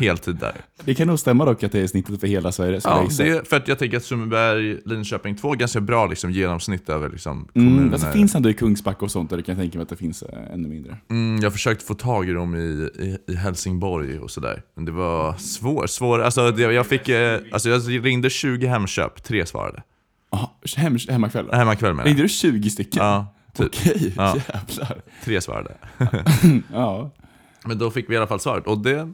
[SPEAKER 3] Heltid där.
[SPEAKER 2] Det kan nog stämma dock att det är snittet för hela Sverige. skulle jag
[SPEAKER 3] Ja,
[SPEAKER 2] gissa.
[SPEAKER 3] det är för att jag tänker att Sundbyberg, Linköping, två ganska bra liksom, genomsnitt över liksom, kommuner.
[SPEAKER 2] Mm, alltså, finns ändå i Kungsbacka och sånt där det kan jag tänka mig att det finns eh, ännu mindre.
[SPEAKER 3] Mm, jag försökte få tag i dem i, i, i Helsingborg och sådär. Men det var svårt. Svår, alltså, det- jag, fick, eh, alltså, jag ringde 20 Hemköp, tre svarade.
[SPEAKER 2] Aha, hem, hemmakväll?
[SPEAKER 3] Äh, Hemmakväll menar jag.
[SPEAKER 2] Ringde du 20 stycken?
[SPEAKER 3] Ja, typ.
[SPEAKER 2] Okej,
[SPEAKER 3] Ja.
[SPEAKER 2] jävlar.
[SPEAKER 3] Tre svarade.
[SPEAKER 2] Ja.
[SPEAKER 3] Men då fick vi i alla fall svaret. Och det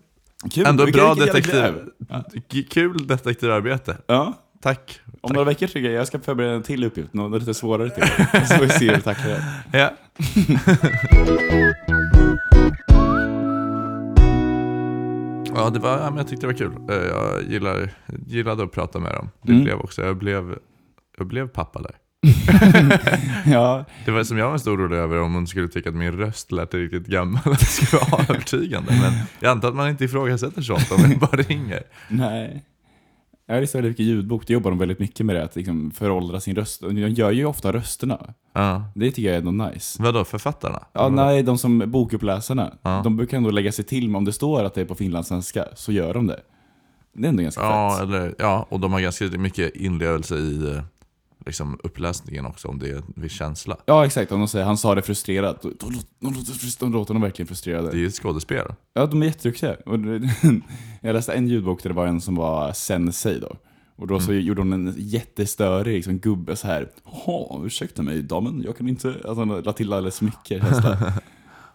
[SPEAKER 2] Kul.
[SPEAKER 3] ändå
[SPEAKER 2] vilken-
[SPEAKER 3] bra
[SPEAKER 2] vilken jävla
[SPEAKER 3] detektiv.
[SPEAKER 2] gräv.
[SPEAKER 3] K- Kul detektivarbete.
[SPEAKER 2] Ja.
[SPEAKER 3] Tack.
[SPEAKER 2] Om några veckor tycker jag jag ska förbereda en till uppgift, något lite svårare till. Så får vi se hur det tacklar det.
[SPEAKER 3] Ja. Ja, det var, ja, men jag tyckte det var kul. Eh, Jag gillar, gillade att prata med dem. Det
[SPEAKER 2] Mm.
[SPEAKER 3] blev också, jag blev, jag blev pappa där.
[SPEAKER 2] Ja,
[SPEAKER 3] Det var som jag var mest orolig över om hon skulle tycka att min röst lät riktigt gammal, att det skulle vara övertygande. Men jag antar att man inte ifrågasätter sånt om man bara ringer.
[SPEAKER 2] nej. Jag lyssnar mycket ljudbok, det jobbar de väldigt mycket med det, att liksom föråldra sin röst. De gör ju ofta rösterna.
[SPEAKER 3] Ja.
[SPEAKER 2] Det tycker jag är ändå nice.
[SPEAKER 3] Vadå, författarna?
[SPEAKER 2] Ja, nej, de som bokuppläsarna,
[SPEAKER 3] Mm. Ja.
[SPEAKER 2] de brukar ändå lägga sig till med om det står att det är på finlandssvenska, så gör de det. Det är ändå ganska
[SPEAKER 3] Ja,
[SPEAKER 2] fett.
[SPEAKER 3] eller, ja, och de har ganska mycket inlevelse i eh, liksom, uppläsningen också, om det är en viss känsla.
[SPEAKER 2] Ja, exakt. Om de säger han sa det frustrerat, då, då, låter- de låter- de låter de verkligen frustrerade.
[SPEAKER 3] Det är ju ett skådespel.
[SPEAKER 2] Ja, de är jätteduktiga. Och det- Jag läste en ljudbok där det var en som var sensei då. Och då så
[SPEAKER 3] Mm.
[SPEAKER 2] gjorde hon en jättestörig liksom, gubbe så här. Jaha, ursäkta mig damen, jag kan inte... Alltså han la till alldeles mycket känns det.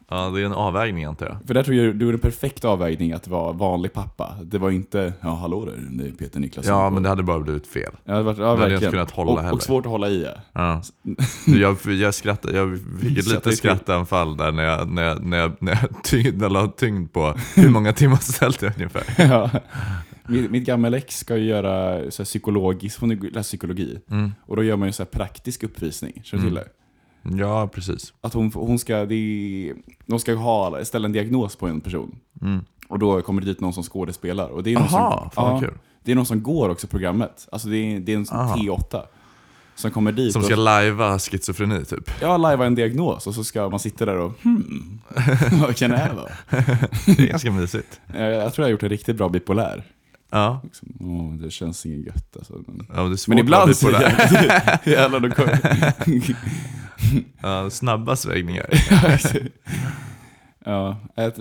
[SPEAKER 3] Ja, det är en avvägning antar jag.
[SPEAKER 2] För där tror jag du gjorde en perfekt avvägning att vara vanlig pappa. Det var inte, ja hallå där, det är Peter Niklasson.
[SPEAKER 3] Ja, men det hade bara blivit fel.
[SPEAKER 2] Ja, det var, ja,
[SPEAKER 3] hade jag
[SPEAKER 2] verkligen.
[SPEAKER 3] inte kunnat hålla
[SPEAKER 2] och,
[SPEAKER 3] heller.
[SPEAKER 2] och svårt att hålla i. ja.
[SPEAKER 3] Ja. Jag, jag, skrattade, jag fick ett
[SPEAKER 2] Satt i
[SPEAKER 3] litet
[SPEAKER 2] skit.
[SPEAKER 3] skrattanfall där när jag, när jag, när jag, när jag, tyngd, när jag la tyngd på hur många timmar ställt jag ungefär.
[SPEAKER 2] Ja. Mitt, mitt gamla ex ska ju göra så här psykologisk, hon läser psykologi.
[SPEAKER 3] Mm.
[SPEAKER 2] Och då gör man ju så här praktisk uppvisning, känner du till det?
[SPEAKER 3] Ja, precis.
[SPEAKER 2] Att hon, hon ska, det är, de ska ha, ställa en diagnos på en person. Och då kommer det dit någon som skådespelar. Och det är någon
[SPEAKER 3] Mm. Aha,
[SPEAKER 2] som,
[SPEAKER 3] fan vad kul.
[SPEAKER 2] Det är någon som går också programmet. Alltså det är, det är en sån
[SPEAKER 3] Aha.
[SPEAKER 2] T8. Som kommer dit
[SPEAKER 3] Som ska
[SPEAKER 2] och
[SPEAKER 3] lajva schizofreni typ.
[SPEAKER 2] ja, lajva en diagnos och så ska man sitta där och hmm, vad kan det här vara?
[SPEAKER 3] Det är ganska mysigt.
[SPEAKER 2] Jag, jag tror jag har gjort en riktigt bra bipolär.
[SPEAKER 3] Ja,
[SPEAKER 2] Liksom, åh, det känns inget gött alltså. Men,
[SPEAKER 3] ja men det är svårt
[SPEAKER 2] men ibland
[SPEAKER 3] att
[SPEAKER 2] så
[SPEAKER 3] vara bipolär.
[SPEAKER 2] jävlar, jävlar, då kommer-
[SPEAKER 3] Ja, snabba svängningar.
[SPEAKER 2] ja, ett-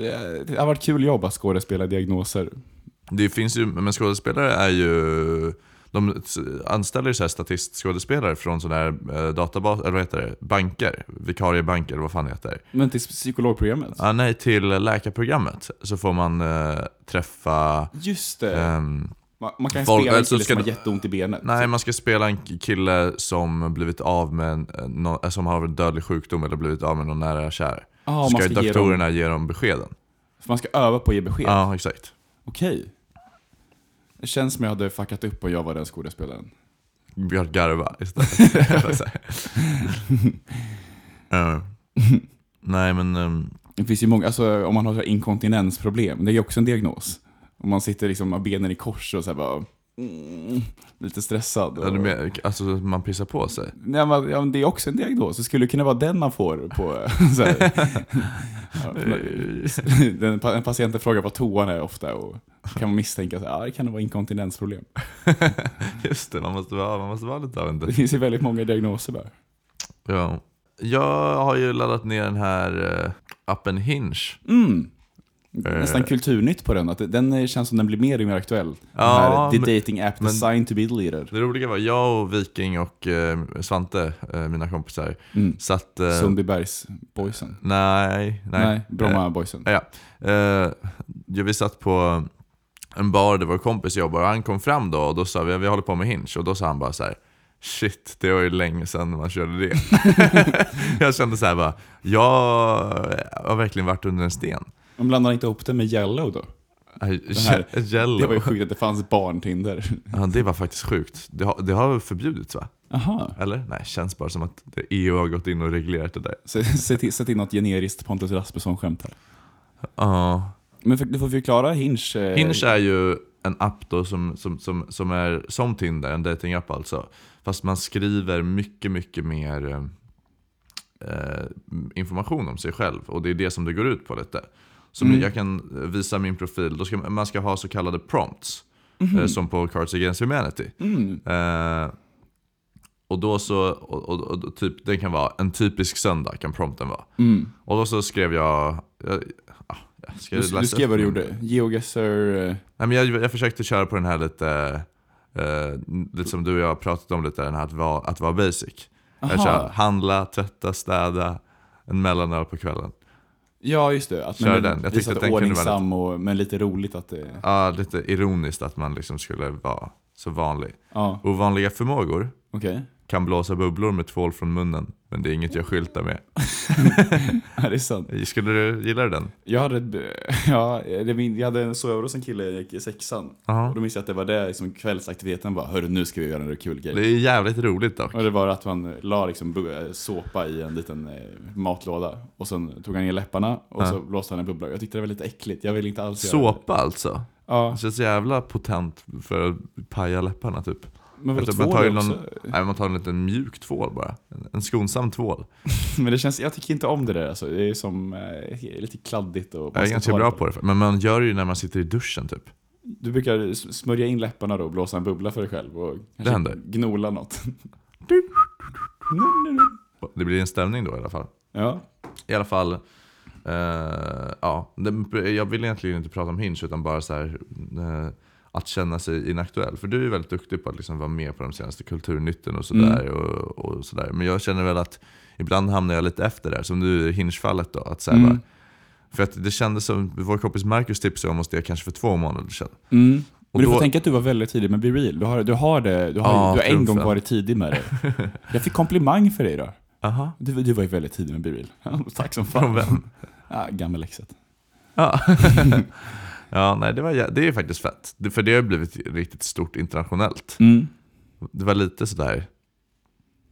[SPEAKER 2] Det har varit kul jobb att skådespela diagnoser.
[SPEAKER 3] Det finns ju, men skådespelare är ju... De anställer ju så här statistskådespelare från sådana här eh, databas, eller vad heter det, banker, vikariebanker eller vad fan det heter.
[SPEAKER 2] Men till psykologprogrammet.
[SPEAKER 3] Ja, nej, till läkarprogrammet så får man eh, träffa...
[SPEAKER 2] Just det.
[SPEAKER 3] ehm,
[SPEAKER 2] man, man kan
[SPEAKER 3] folk-
[SPEAKER 2] spela en
[SPEAKER 3] alltså
[SPEAKER 2] kille
[SPEAKER 3] ska
[SPEAKER 2] som har
[SPEAKER 3] du-
[SPEAKER 2] jätteont i benet.
[SPEAKER 3] nej, man ska spela en kille som blivit av med en, eh, nå- eh, som har en dödlig sjukdom eller blivit av med någon nära och kär.
[SPEAKER 2] Ja,
[SPEAKER 3] så
[SPEAKER 2] man
[SPEAKER 3] ska,
[SPEAKER 2] ska ge
[SPEAKER 3] doktorerna ge dem, beskeden.
[SPEAKER 2] För man ska öva på att ge besked.
[SPEAKER 3] Ja, exakt.
[SPEAKER 2] Okej. Det känns som jag hade fuckat upp och jag var den skådespelaren.
[SPEAKER 3] Björk garva istället. Eller så här. Eh, nej, men... ehm,
[SPEAKER 2] Det finns ju många, alltså om man har så här inkontinensproblem, det är ju också en diagnos. Om man sitter liksom med benen i kors och så här bara, mm, lite stressad.
[SPEAKER 3] Ja,
[SPEAKER 2] Och,
[SPEAKER 3] du menar, alltså man pissar på sig?
[SPEAKER 2] Nej, men, ja, men det är också en diagnos, det skulle ju kunna vara den man får på så här. Ja, för- den, pa- en patienten frågar vad toan är ofta och kan man misstänka att ja, det kan vara inkontinensproblem.
[SPEAKER 3] Just det, man måste vara, man måste vara lite av en
[SPEAKER 2] Det finns ju väldigt många diagnoser där.
[SPEAKER 3] ja. Jag har ju laddat ner den här eh, appen Hinge.
[SPEAKER 2] Mm.
[SPEAKER 3] Eh.
[SPEAKER 2] Nästan kulturnytt på den, att den känns som den blir mer och mer aktuell. Den
[SPEAKER 3] Ja,
[SPEAKER 2] här, the
[SPEAKER 3] men-
[SPEAKER 2] dating app
[SPEAKER 3] men-
[SPEAKER 2] designed to be deleted.
[SPEAKER 3] Det roliga var, jag och Viking och eh, Svante, eh, mina kompisar,
[SPEAKER 2] Mm.
[SPEAKER 3] satt... Eh,
[SPEAKER 2] Sundbybergsboysen.
[SPEAKER 3] Nej, nej.
[SPEAKER 2] Nej, Bromma boysen.
[SPEAKER 3] Eh, ja. Eh, ja, vi satt på en bar där vår kompis jobbar och han kom fram då och då sa vi vi håller på med Hinge och då sa han bara så här. Shit, det var ju länge sedan man körde det. jag kände så här bara, jag har verkligen varit under en sten. Äh,
[SPEAKER 2] Man blandar inte ihop det med Yellow då? här-
[SPEAKER 3] Jello.
[SPEAKER 2] Det var ju sjukt att det fanns barntinder.
[SPEAKER 3] Ja, det var faktiskt sjukt. Det har, det har förbjudits va?
[SPEAKER 2] Aha.
[SPEAKER 3] Eller? Nej, känns bara som att EU har gått in och reglerat det där.
[SPEAKER 2] Så- Sätt in, sätt in något generiskt Pontus Rasmusson-skämt här.
[SPEAKER 3] Ja.
[SPEAKER 2] Men för, du får förklara Hinge. eh,
[SPEAKER 3] Hinge är ju en app då som, som, som, som är som Tinder, en datingapp alltså. Fast man skriver mycket, mycket mer eh, eh, information om sig själv. Och det är det som det går ut på lite. Så
[SPEAKER 2] Mm.
[SPEAKER 3] jag kan eh, visa min profil. Då ska, man- man ska ha så kallade prompts.
[SPEAKER 2] Mhm.
[SPEAKER 3] Eh, som på Cards Against Humanity.
[SPEAKER 2] Mm.
[SPEAKER 3] Eh, och då så, och, och, och, typ, den kan vara en typisk söndag kan prompten vara. Och då så skrev jag, jag, ah, jag ska
[SPEAKER 2] Mm. Du,
[SPEAKER 3] läsa
[SPEAKER 2] du skrev vad du
[SPEAKER 3] upp min-
[SPEAKER 2] gjorde. Geogesser. eh,
[SPEAKER 3] Nej, men jag, jag försökte köra på den här lite, eh, lite som du och jag har pratat om lite, den här att vara, att vara basic. Jag
[SPEAKER 2] Aha.
[SPEAKER 3] kör handla, tvätta, städa, en mellanöl på kvällen.
[SPEAKER 2] Ja, just det. Att,
[SPEAKER 3] Kör
[SPEAKER 2] men,
[SPEAKER 3] den. Jag tyckte
[SPEAKER 2] visa
[SPEAKER 3] att den kunde vara
[SPEAKER 2] ordningsam och, men lite roligt att eh, det...
[SPEAKER 3] Ja, lite ironiskt att man liksom skulle vara så vanlig.
[SPEAKER 2] Ja,
[SPEAKER 3] Ovanliga förmågor
[SPEAKER 2] okej.
[SPEAKER 3] kan blåsa bubblor med tvål från munnen, men det är inget jag skyltar med.
[SPEAKER 2] Ja, det är sant.
[SPEAKER 3] Skulle du, gillar du den?
[SPEAKER 2] Jag hade, ett b- ja, det, min- jag hade en sova hos en kille jag gick i sexan.
[SPEAKER 3] Aha.
[SPEAKER 2] Och då minns jag att det var det liksom, kvällsaktiviteten var. Hörru, nu ska vi göra en kul grej.
[SPEAKER 3] Det är jävligt roligt dock.
[SPEAKER 2] Och det var att man la liksom bu- såpa i en liten eh, matlåda och sen tog han ner läpparna och så blåste han en bubbla. Jag tyckte det var lite äckligt, jag ville inte alls göra det.
[SPEAKER 3] Såpa alltså.
[SPEAKER 2] Ja,
[SPEAKER 3] Det känns så jävla potent för att paja läpparna typ.
[SPEAKER 2] men vadå
[SPEAKER 3] man
[SPEAKER 2] tvål
[SPEAKER 3] tar, ju
[SPEAKER 2] också?
[SPEAKER 3] någon, nej, man tar en liten mjuk tvål bara. En, en skonsam tvål.
[SPEAKER 2] Men det känns, jag tycker inte om det där alltså. Det är som eh, lite kladdigt och...
[SPEAKER 3] Jag är ganska bra på det. Men man gör det ju när man sitter i duschen typ.
[SPEAKER 2] Du brukar s- smörja in läpparna då och blåsa en bubbla för dig själv och kanske
[SPEAKER 3] händer.
[SPEAKER 2] gnola något.
[SPEAKER 3] Det blir en stämning då i alla fall.
[SPEAKER 2] Ja.
[SPEAKER 3] I alla fall, eh, ja. Det- Jag vill egentligen inte prata om Hinge utan bara så här, eh, att känna sig inaktuell. För du är ju väldigt duktig på att liksom vara med på de senaste kulturnytten och sådär.
[SPEAKER 2] Mm.
[SPEAKER 3] Och, och sådär. Men jag känner väl att ibland hamnar jag lite efter där, som nu i Hinge-fallet då. Att så
[SPEAKER 2] Mm.
[SPEAKER 3] här bara, för att det kändes som, vår kompis Marcus tipsade om oss det kanske för två månader sedan.
[SPEAKER 2] Mm. Men du får
[SPEAKER 3] då-
[SPEAKER 2] tänka att du var väldigt tidig med Be Real. Du har, du har, det, du har,
[SPEAKER 3] Ja,
[SPEAKER 2] du har en gång
[SPEAKER 3] trumfen.
[SPEAKER 2] varit tidig med det. Jag fick komplimang för det idag.
[SPEAKER 3] Aha.
[SPEAKER 2] Du, du var ju väldigt tidig med Be Real. Tack som fan.
[SPEAKER 3] Från vem?
[SPEAKER 2] Ja, Gammelexet.
[SPEAKER 3] Ja. ja, nej det, var, jä- det är faktiskt fett. Det- För det har blivit riktigt stort internationellt.
[SPEAKER 2] Mm.
[SPEAKER 3] Det var lite sådär,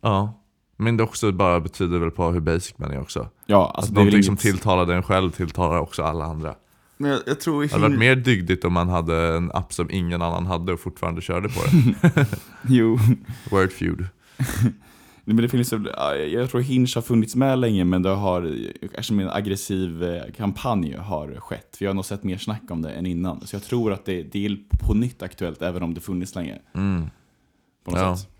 [SPEAKER 3] ja. Men det också bara betyder väl på hur basic man är också.
[SPEAKER 2] Ja, alltså
[SPEAKER 3] Alltså
[SPEAKER 2] det är väl
[SPEAKER 3] någonting som
[SPEAKER 2] inget-
[SPEAKER 3] tilltalade en själv tilltalar också alla andra.
[SPEAKER 2] Men jag, jag tror
[SPEAKER 3] Det hade varit mer dygdigt om man hade en app som ingen annan hade och fortfarande körde på det.
[SPEAKER 2] Jo.
[SPEAKER 3] Wordfeud.
[SPEAKER 2] Nej, Men det finns, ju- ja, jag tror Hinge har funnits med länge, men det har, eftersom en aggressiv eh, kampanj har skett. För jag har nog sett mer snack om det än innan. Så jag tror att det, det är på nytt aktuellt, även om det funnits länge. På något
[SPEAKER 3] Mm. Ja.
[SPEAKER 2] sätt.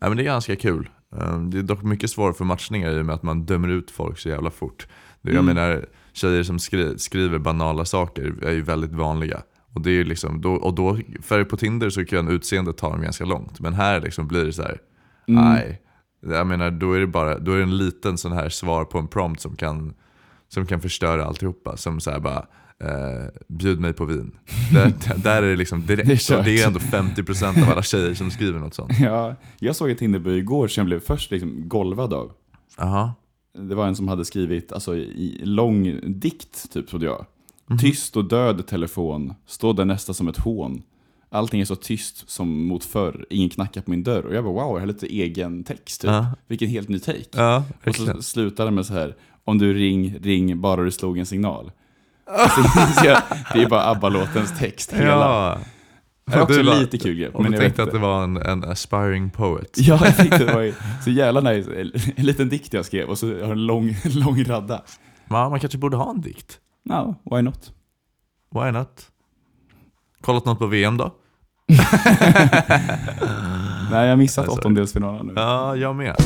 [SPEAKER 3] Nej, men det är ganska kul. Ehm, Det är dock mycket svårare för matchningar i och med att man dömer ut folk så jävla fort. Det- Jag menar, tjejer som skri- skriver banala saker är ju väldigt vanliga. Och det är ju liksom, då, och då, för på Tinder så kan utseendet ta dem ganska långt. Men här liksom blir det så här, nej. Jag menar, då är det bara då är det en liten sån här svar på en prompt som kan, som kan förstöra alltihopa. Som så här bara, eh, bjud mig på vin. där, där är det liksom direkt.
[SPEAKER 2] Det är
[SPEAKER 3] och det
[SPEAKER 2] kört.
[SPEAKER 3] är ändå 50% av alla tjejer som skriver något sånt.
[SPEAKER 2] Ja, jag såg ett Tinderby igår som jag blev först liksom golvad av.
[SPEAKER 3] Aha.
[SPEAKER 2] Det var en som hade skrivit alltså, i lång dikt, typ trodde jag.
[SPEAKER 3] Mhm.
[SPEAKER 2] Tyst och död telefon, står där nästa som ett hån. Allting är så tyst som mot förr, ingen knackar på min dörr. Och jag bara wow, jag har lite egen text typ.
[SPEAKER 3] Ja.
[SPEAKER 2] Vilken helt ny take.
[SPEAKER 3] Ja,
[SPEAKER 2] och
[SPEAKER 3] verkligen.
[SPEAKER 2] så slutar det med så här, om du ring, ring, bara du slog en signal. Så jag- det är bara ABBA-låtens text, hela.
[SPEAKER 3] Ja.
[SPEAKER 2] Det är också
[SPEAKER 3] Du la-
[SPEAKER 2] lite kul grepp.
[SPEAKER 3] Och
[SPEAKER 2] men
[SPEAKER 3] du
[SPEAKER 2] jag vet
[SPEAKER 3] tänkte att
[SPEAKER 2] inte.
[SPEAKER 3] det var en, en aspiring poet.
[SPEAKER 2] Ja, jag tyckte det var ju så jävla nice. En liten dikt jag skrev och så har jag en lång, lång radda.
[SPEAKER 3] Ja, man kanske borde ha en dikt.
[SPEAKER 2] No, why not?
[SPEAKER 3] Why not? Kollat något på VM då?
[SPEAKER 2] Nej, jag har missat
[SPEAKER 3] sorry.
[SPEAKER 2] åttondelsfinalen nu.
[SPEAKER 3] Ja, jag med.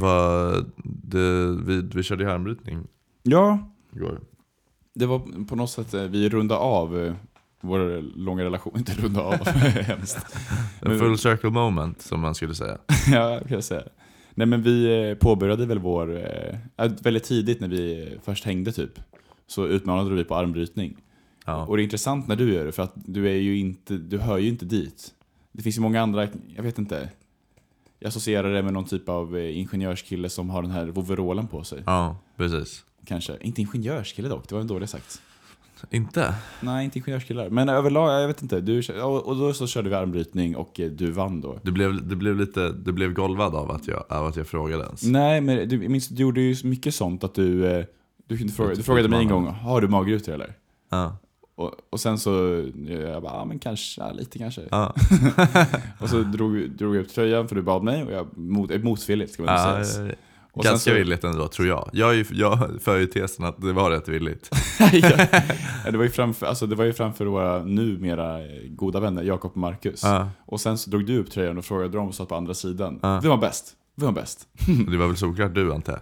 [SPEAKER 3] Vad- det, vi, vi körde ju armbrytning
[SPEAKER 2] Ja,
[SPEAKER 3] igår.
[SPEAKER 2] det var på något sätt, eh, vi rundade av eh, vår långa relation. Inte runda av, hemskt.
[SPEAKER 3] En full circle moment som man skulle säga.
[SPEAKER 2] Ja, kan jag säga. Nej, men vi eh, påbörjade väl vår, eh, äh, väldigt tidigt när vi eh, först hängde typ, så utmanade vi på armbrytning.
[SPEAKER 3] Ja.
[SPEAKER 2] Och det är intressant när du gör det, för att du är ju inte, du hör ju inte dit. Det finns ju många andra, jag vet inte. Jag associerar det med någon typ av eh, ingenjörskille som har den här overallen på sig.
[SPEAKER 3] Ja, precis.
[SPEAKER 2] Kanske. Inte ingenjörskille dock, det var en dålig sagt.
[SPEAKER 3] Inte?
[SPEAKER 2] Nej, inte ingenjörskillar. Men överlag, jag vet inte. Du, kö- och och då så körde vi armbrytning och eh, du vann då.
[SPEAKER 3] Du blev, du blev lite du blev golvad av att jag, av att jag frågade ens.
[SPEAKER 2] Nej, men du, jag minns, du gjorde ju så mycket sånt att du, eh, du, kunde fråga, du frågade mig en gång, har du magrutor eller?
[SPEAKER 3] Ja.
[SPEAKER 2] Och, och sen så, eh, jag bara, ja men kanske, ja, lite kanske.
[SPEAKER 3] Ja.
[SPEAKER 2] Och så drog, drog jag upp tröjan för du bad mig och jag, mot, eh, motvilligt ska man
[SPEAKER 3] Ja,
[SPEAKER 2] väl säga. Och sen
[SPEAKER 3] ganska
[SPEAKER 2] så-
[SPEAKER 3] villigt ändå tror jag. Jag, är ju, jag för ju tesen att det var rätt villigt.
[SPEAKER 2] Ja, det, var ju framför, alltså, det var ju framför våra numera eh, goda vänner, Jakob och Marcus.
[SPEAKER 3] Ja. och
[SPEAKER 2] Och sen så drog du upp tröjan och frågade dem och satt på andra sidan. Vem var bäst? Vem var bäst?
[SPEAKER 3] det var väl såklart du antar jag.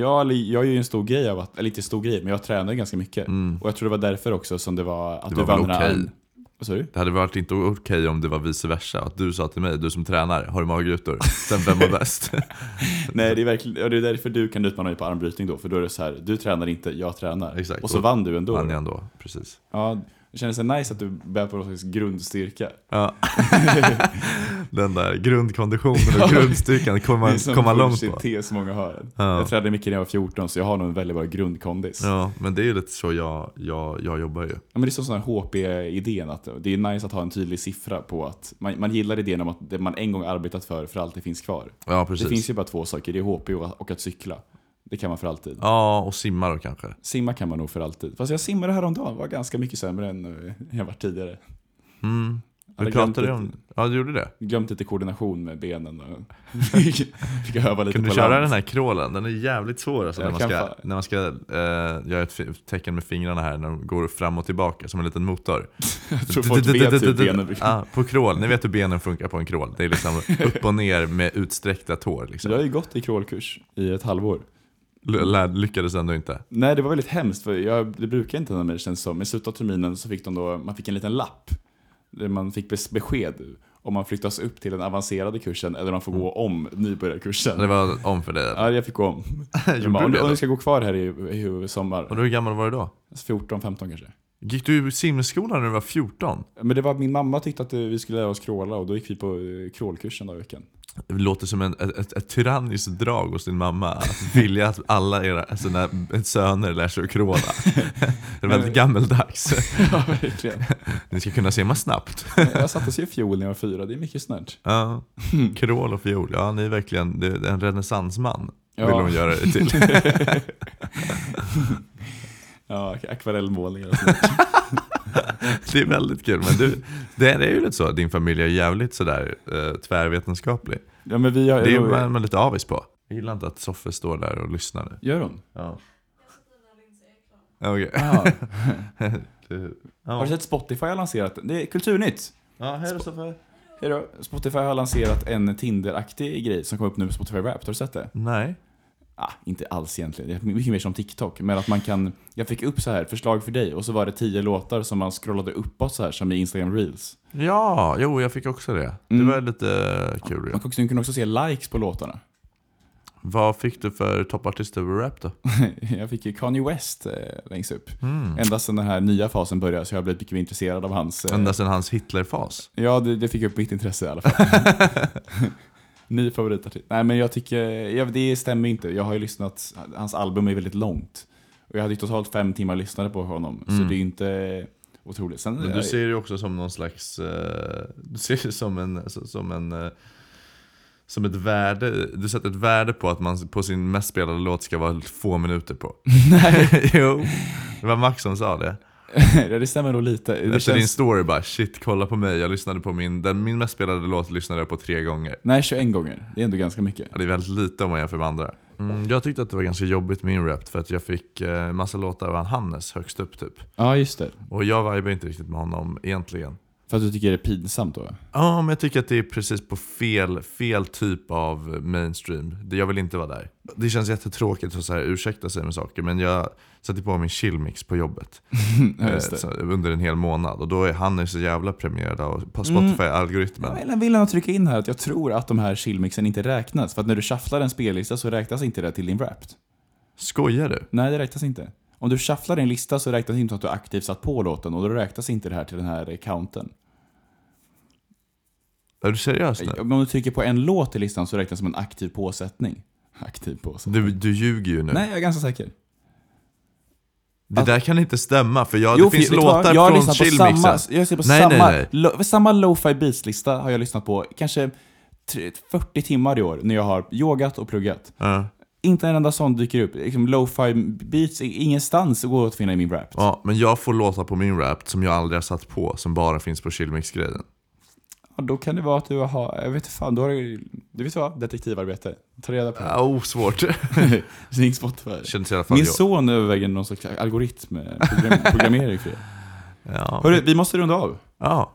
[SPEAKER 2] Ja, eller jag är ju en stor grej av att, eller inte stor grej, men jag tränar ju ganska mycket. Och jag tror det var därför också som det var att
[SPEAKER 3] Mm. Det
[SPEAKER 2] du
[SPEAKER 3] var väl
[SPEAKER 2] vann den här
[SPEAKER 3] okej.
[SPEAKER 2] arm- Vad sa du?
[SPEAKER 3] Det hade varit inte okej om det var vice versa. Att du sa till mig, du som tränar, har du magrutor? Sen vem var bäst?
[SPEAKER 2] Nej, det är, verkligen, ja, det är därför du kan utmana mig på armbrytning då, för då är det så här, du tränar inte, jag tränar.
[SPEAKER 3] Exakt.
[SPEAKER 2] Och så vann du ändå.
[SPEAKER 3] Vann jag ändå, precis.
[SPEAKER 2] Ja, det kändes så nice att du bär på någon slags grundstyrka.
[SPEAKER 3] Ja. Den där grundkonditionen och grundstyrkan kommer
[SPEAKER 2] Det är en
[SPEAKER 3] man
[SPEAKER 2] sån
[SPEAKER 3] komma långt
[SPEAKER 2] bullshit
[SPEAKER 3] på.
[SPEAKER 2] tes som många har.
[SPEAKER 3] Ja.
[SPEAKER 2] Jag tränade mycket när jag var 14, så jag har nog en väldigt bra grundkondis. Ja.
[SPEAKER 3] Ja, men det är ju lite så jag, jag, jag jobbar ju.
[SPEAKER 2] men det är som sån här HP-idén, att det är nice att ha en tydlig siffra på att man, man gillar idén om att det man en gång arbetat för, för alltid finns kvar.
[SPEAKER 3] Ja, precis.
[SPEAKER 2] Det finns ju bara två saker, det är HP och- och att cykla. Det kan man för alltid.
[SPEAKER 3] Ja, och simma då kanske.
[SPEAKER 2] Simma kan man nog för alltid. Fast jag simmade häromdagen, var ganska mycket sämre än eh, jag var tidigare.
[SPEAKER 3] Vi
[SPEAKER 2] Hade
[SPEAKER 3] Mm. pratade
[SPEAKER 2] glömt
[SPEAKER 3] om... Ja, du gjorde det?
[SPEAKER 2] Glömt lite koordination med benen och fick, fick öva lite
[SPEAKER 3] Kan du
[SPEAKER 2] på
[SPEAKER 3] köra
[SPEAKER 2] land.
[SPEAKER 3] den här crawlen? Den är jävligt svår alltså,
[SPEAKER 2] Jag
[SPEAKER 3] när man
[SPEAKER 2] kan
[SPEAKER 3] ska,
[SPEAKER 2] fa-
[SPEAKER 3] när man ska eh, göra ett fi- tecken med fingrarna här när de går fram och tillbaka som en liten motor.
[SPEAKER 2] Jag tror folk vet hur benen brukar
[SPEAKER 3] Ja, På crawl, ni vet hur benen funkar på en crawl. Det är liksom upp och ner med utsträckta
[SPEAKER 2] Så
[SPEAKER 3] tår.
[SPEAKER 2] jag har
[SPEAKER 3] Liksom.
[SPEAKER 2] ju gått i crawlkurs i ett halvår.
[SPEAKER 3] L- lär- lyckades ändå inte.
[SPEAKER 2] Nej, det var väldigt hemskt för jag, det brukar inte hända mig det känns som. I slutet av terminen så fick de då, man fick en liten lapp. Där man fick bes- besked om man flyttas upp till den avancerade kursen eller man får gå om nybörjarkursen.
[SPEAKER 3] Mm. Det var om för dig.
[SPEAKER 2] Ja, jag fick gå om. Jag
[SPEAKER 3] Gjorde
[SPEAKER 2] bara,
[SPEAKER 3] du
[SPEAKER 2] om, du,
[SPEAKER 3] det
[SPEAKER 2] om
[SPEAKER 3] då?
[SPEAKER 2] du ska gå kvar här i, i sommar,
[SPEAKER 3] Och då, hur gammal var du då?
[SPEAKER 2] alltså 14-15 kanske.
[SPEAKER 3] Gick du i simskolan när du var 14?
[SPEAKER 2] Men det var min mamma tyckte att eh, vi skulle lära oss kråla och då gick vi på eh, krålkursen den veckan.
[SPEAKER 3] Det låter som en, ett, ett, ett tyranniskt drag hos din mamma. Att vilja att alla era sina söner lär sig att kråla. Det är väldigt gammeldags.
[SPEAKER 2] Ja, verkligen.
[SPEAKER 3] Ni ska kunna simma snabbt.
[SPEAKER 2] Jag sattes ju i fjol när jag var fyra, det är mycket snällt.
[SPEAKER 3] Ja. Mm. Krål och fiol. Ja, ni är verkligen det är en renässansman.
[SPEAKER 2] Ja.
[SPEAKER 3] Vill hon göra det till.
[SPEAKER 2] Ja, akvarellmålningar och sånt.
[SPEAKER 3] Det är väldigt kul. Men du, det är ju lite så. att Din familj är jävligt sådär eh, tvärvetenskaplig.
[SPEAKER 2] Ja, men vi har...
[SPEAKER 3] Det är man, man lite avis på. Jag gillar inte att Soffe står där och lyssnar nu.
[SPEAKER 2] Gör hon?
[SPEAKER 3] Ja. Okej.
[SPEAKER 2] Ja.
[SPEAKER 3] Du-
[SPEAKER 2] Har
[SPEAKER 3] Ja.
[SPEAKER 2] du sett Spotify har lanserat? Det är Kulturnytt.
[SPEAKER 3] Ja, hej då Soffe.
[SPEAKER 2] Hej då. Spotify har lanserat en Tinder-aktig grej som kom upp nu på Spotify Wrapped. Har du sett det?
[SPEAKER 3] Nej.
[SPEAKER 2] Ah, inte alls egentligen. Det är mycket mer som TikTok. Men att man kan... Jag fick upp så här, förslag för dig. Och så var det tio låtar som man scrollade uppåt så här, som i Instagram Reels.
[SPEAKER 3] Ja, jo jag fick också det. Det
[SPEAKER 2] Mm.
[SPEAKER 3] var lite kul ju.
[SPEAKER 2] Man kunde- kunde också se likes på låtarna.
[SPEAKER 3] Vad fick du för toppartist över rap då?
[SPEAKER 2] Jag fick ju Kanye West eh, längst upp.
[SPEAKER 3] Mm.
[SPEAKER 2] Ända sedan den här nya fasen började så jag har blivit mycket mer intresserad av hans... Eh,
[SPEAKER 3] Ända sedan hans Hitlerfas.
[SPEAKER 2] Ja, det, det fick upp mitt intresse i alla fall. Ny favoritartist. Nej, men jag tycker, ja, det stämmer inte. Jag har ju lyssnat, hans album är väldigt långt. Och jag hade ju totalt fem timmar lyssnare på honom, så det är ju inte otroligt. Sen,
[SPEAKER 3] Mm. Men du ser det också som någon slags, eh, du ser det som en, så- som en eh, som ett värde, du sätter ett värde på att man på sin mest spelade låt ska vara få minuter på. Nej. jo, det var Max som sa det.
[SPEAKER 2] ja, det stämmer nog lite. Det
[SPEAKER 3] Efter din
[SPEAKER 2] känns,
[SPEAKER 3] story bara, shit kolla på mig, jag lyssnade på min, den, min mest spelade låt lyssnade jag på tre gånger.
[SPEAKER 2] Nej, 21 gånger. Det är ändå ganska mycket.
[SPEAKER 3] Ja, det är väldigt lite om man jämför med andra. Mm, jag tyckte att det var ganska jobbigt med min rap för att jag fick eh, massa låtar av han Hannes högst upp typ.
[SPEAKER 2] Ja, just det.
[SPEAKER 3] Och jag vibar inte riktigt med honom egentligen.
[SPEAKER 2] För att du tycker det är pinsamt då?
[SPEAKER 3] Ja, men jag tycker att det är precis på fel, fel typ av mainstream. Det- Jag vill inte vara där. Det känns jättetråkigt att så här ursäkta sig med saker, men jag satte på min chillmix på jobbet
[SPEAKER 2] Ja,
[SPEAKER 3] eh,
[SPEAKER 2] just det.
[SPEAKER 3] så, under en hel månad. Och då är han är så jävla premierad av på
[SPEAKER 2] Mm.
[SPEAKER 3] Spotify-algoritmen.
[SPEAKER 2] Jag vill ändå trycka in här att jag tror att de här chillmixen inte räknas. För att när du shufflar en spellista så räknas inte det till din Wrapped.
[SPEAKER 3] Skojar du?
[SPEAKER 2] Nej, det räknas inte. Om du shufflar din lista så räknas inte att du aktivt satt på låten och då räknas inte det här till den här eh, counten.
[SPEAKER 3] Är du seriös nu?
[SPEAKER 2] Men om du trycker på en låt i listan så räknas det som en aktiv påsättning. Aktiv påsättning?
[SPEAKER 3] Du, du ljuger ju nu.
[SPEAKER 2] Nej, jag är ganska säker.
[SPEAKER 3] Det där kan inte stämma, för jag, det
[SPEAKER 2] för
[SPEAKER 3] finns
[SPEAKER 2] vet du vad?
[SPEAKER 3] låtar
[SPEAKER 2] jag har
[SPEAKER 3] från
[SPEAKER 2] lyssnat på
[SPEAKER 3] chillmixen.
[SPEAKER 2] samma, Jag har lyssnat på
[SPEAKER 3] Nej, nej,
[SPEAKER 2] samma,
[SPEAKER 3] nej.
[SPEAKER 2] Lo, samma lo-fi beats-lista har jag lyssnat på kanske tre- 40 timmar i år när jag har yogat och pluggat.
[SPEAKER 3] Ja.
[SPEAKER 2] Inte en enda sån dyker upp. Liksom, lo-fi beats är ingenstans att gå att finna i min rap.
[SPEAKER 3] Ja, men jag får låtar på min rap som jag aldrig har satt på, som bara finns på chillmix-grejen.
[SPEAKER 2] Ja, då kan det vara att du har, jag vet inte fan, då har du, du vet vad, detektivarbete. Ta reda på det.
[SPEAKER 3] Ah, oh, svårt.
[SPEAKER 2] Ring Spotify.
[SPEAKER 3] Känns i alla fall
[SPEAKER 2] Min
[SPEAKER 3] jag-
[SPEAKER 2] son överväger någon slags algoritm, eh, program, programmering för det.
[SPEAKER 3] Ja.
[SPEAKER 2] Hörru, vi måste runda av.
[SPEAKER 3] Ja.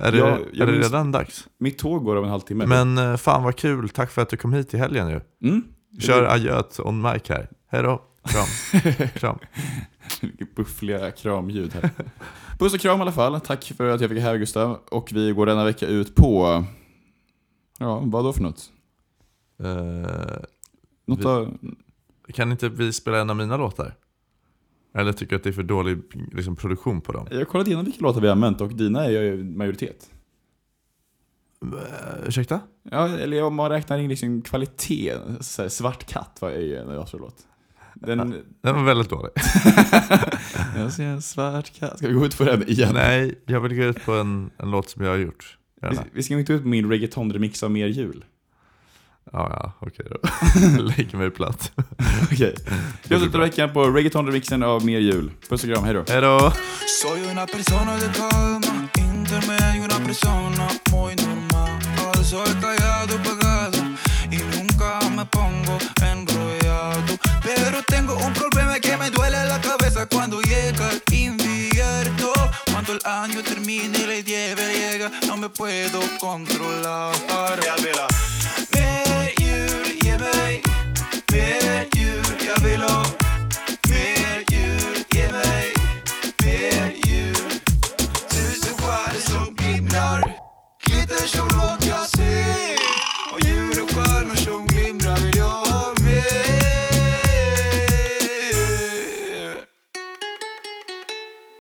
[SPEAKER 3] Är det,
[SPEAKER 2] Jag-
[SPEAKER 3] är
[SPEAKER 2] jag
[SPEAKER 3] det
[SPEAKER 2] minns-
[SPEAKER 3] redan dags?
[SPEAKER 2] Mitt tåg går om en halvtimme.
[SPEAKER 3] Men eh, fan vad kul, tack för att du kom hit i helgen ju.
[SPEAKER 2] Mm?
[SPEAKER 3] Kör adjöt on mic här. Hej då. Kram. Kram.
[SPEAKER 2] Vilket buffliga kramljud här. Puss och kram i alla fall. Tack för att jag fick här Gustav. Och vi går denna vecka ut på... Ja, vad då för något?
[SPEAKER 3] Eh,
[SPEAKER 2] Något
[SPEAKER 3] Vi-
[SPEAKER 2] av...
[SPEAKER 3] kan inte vi spela en av mina låtar? Eller tycker du att det är för dålig liksom, produktion på dem?
[SPEAKER 2] Jag har kollat igenom vilka låtar vi har använt och dina är ju majoritet.
[SPEAKER 3] Uh, ursäkta?
[SPEAKER 2] Ja, eller om man räknar in liksom kvalitet. Så här, svart katt var ju en låt. Den...
[SPEAKER 3] Den var väldigt dålig.
[SPEAKER 2] Jag ser en svart katt. Ska vi gå ut på den igen?
[SPEAKER 3] Nej, jag vill gå ut på en, en låt som jag har gjort.
[SPEAKER 2] Vi,
[SPEAKER 3] Gärna.
[SPEAKER 2] vi ska inte ut på min reggaeton-remix av Mer Jul.
[SPEAKER 3] Ja, ja, okej då. Lägg mig platt.
[SPEAKER 2] Okej. Vi avslutar veckan på reggaeton-remixen av Mer Jul. Puss och kram, hej då.
[SPEAKER 3] Hej då.
[SPEAKER 1] Soy una persona de calma, intermedia y una persona muy normal. Soy callado y pagado y nunca me pongo enrollado. Pero tengo un problema que me duele la cabeza cuando llega el invierno. Cuando el año termine y la nieve llega, no me puedo controlar. Me, you, yeah, me.
[SPEAKER 7] mer djur jag vill ha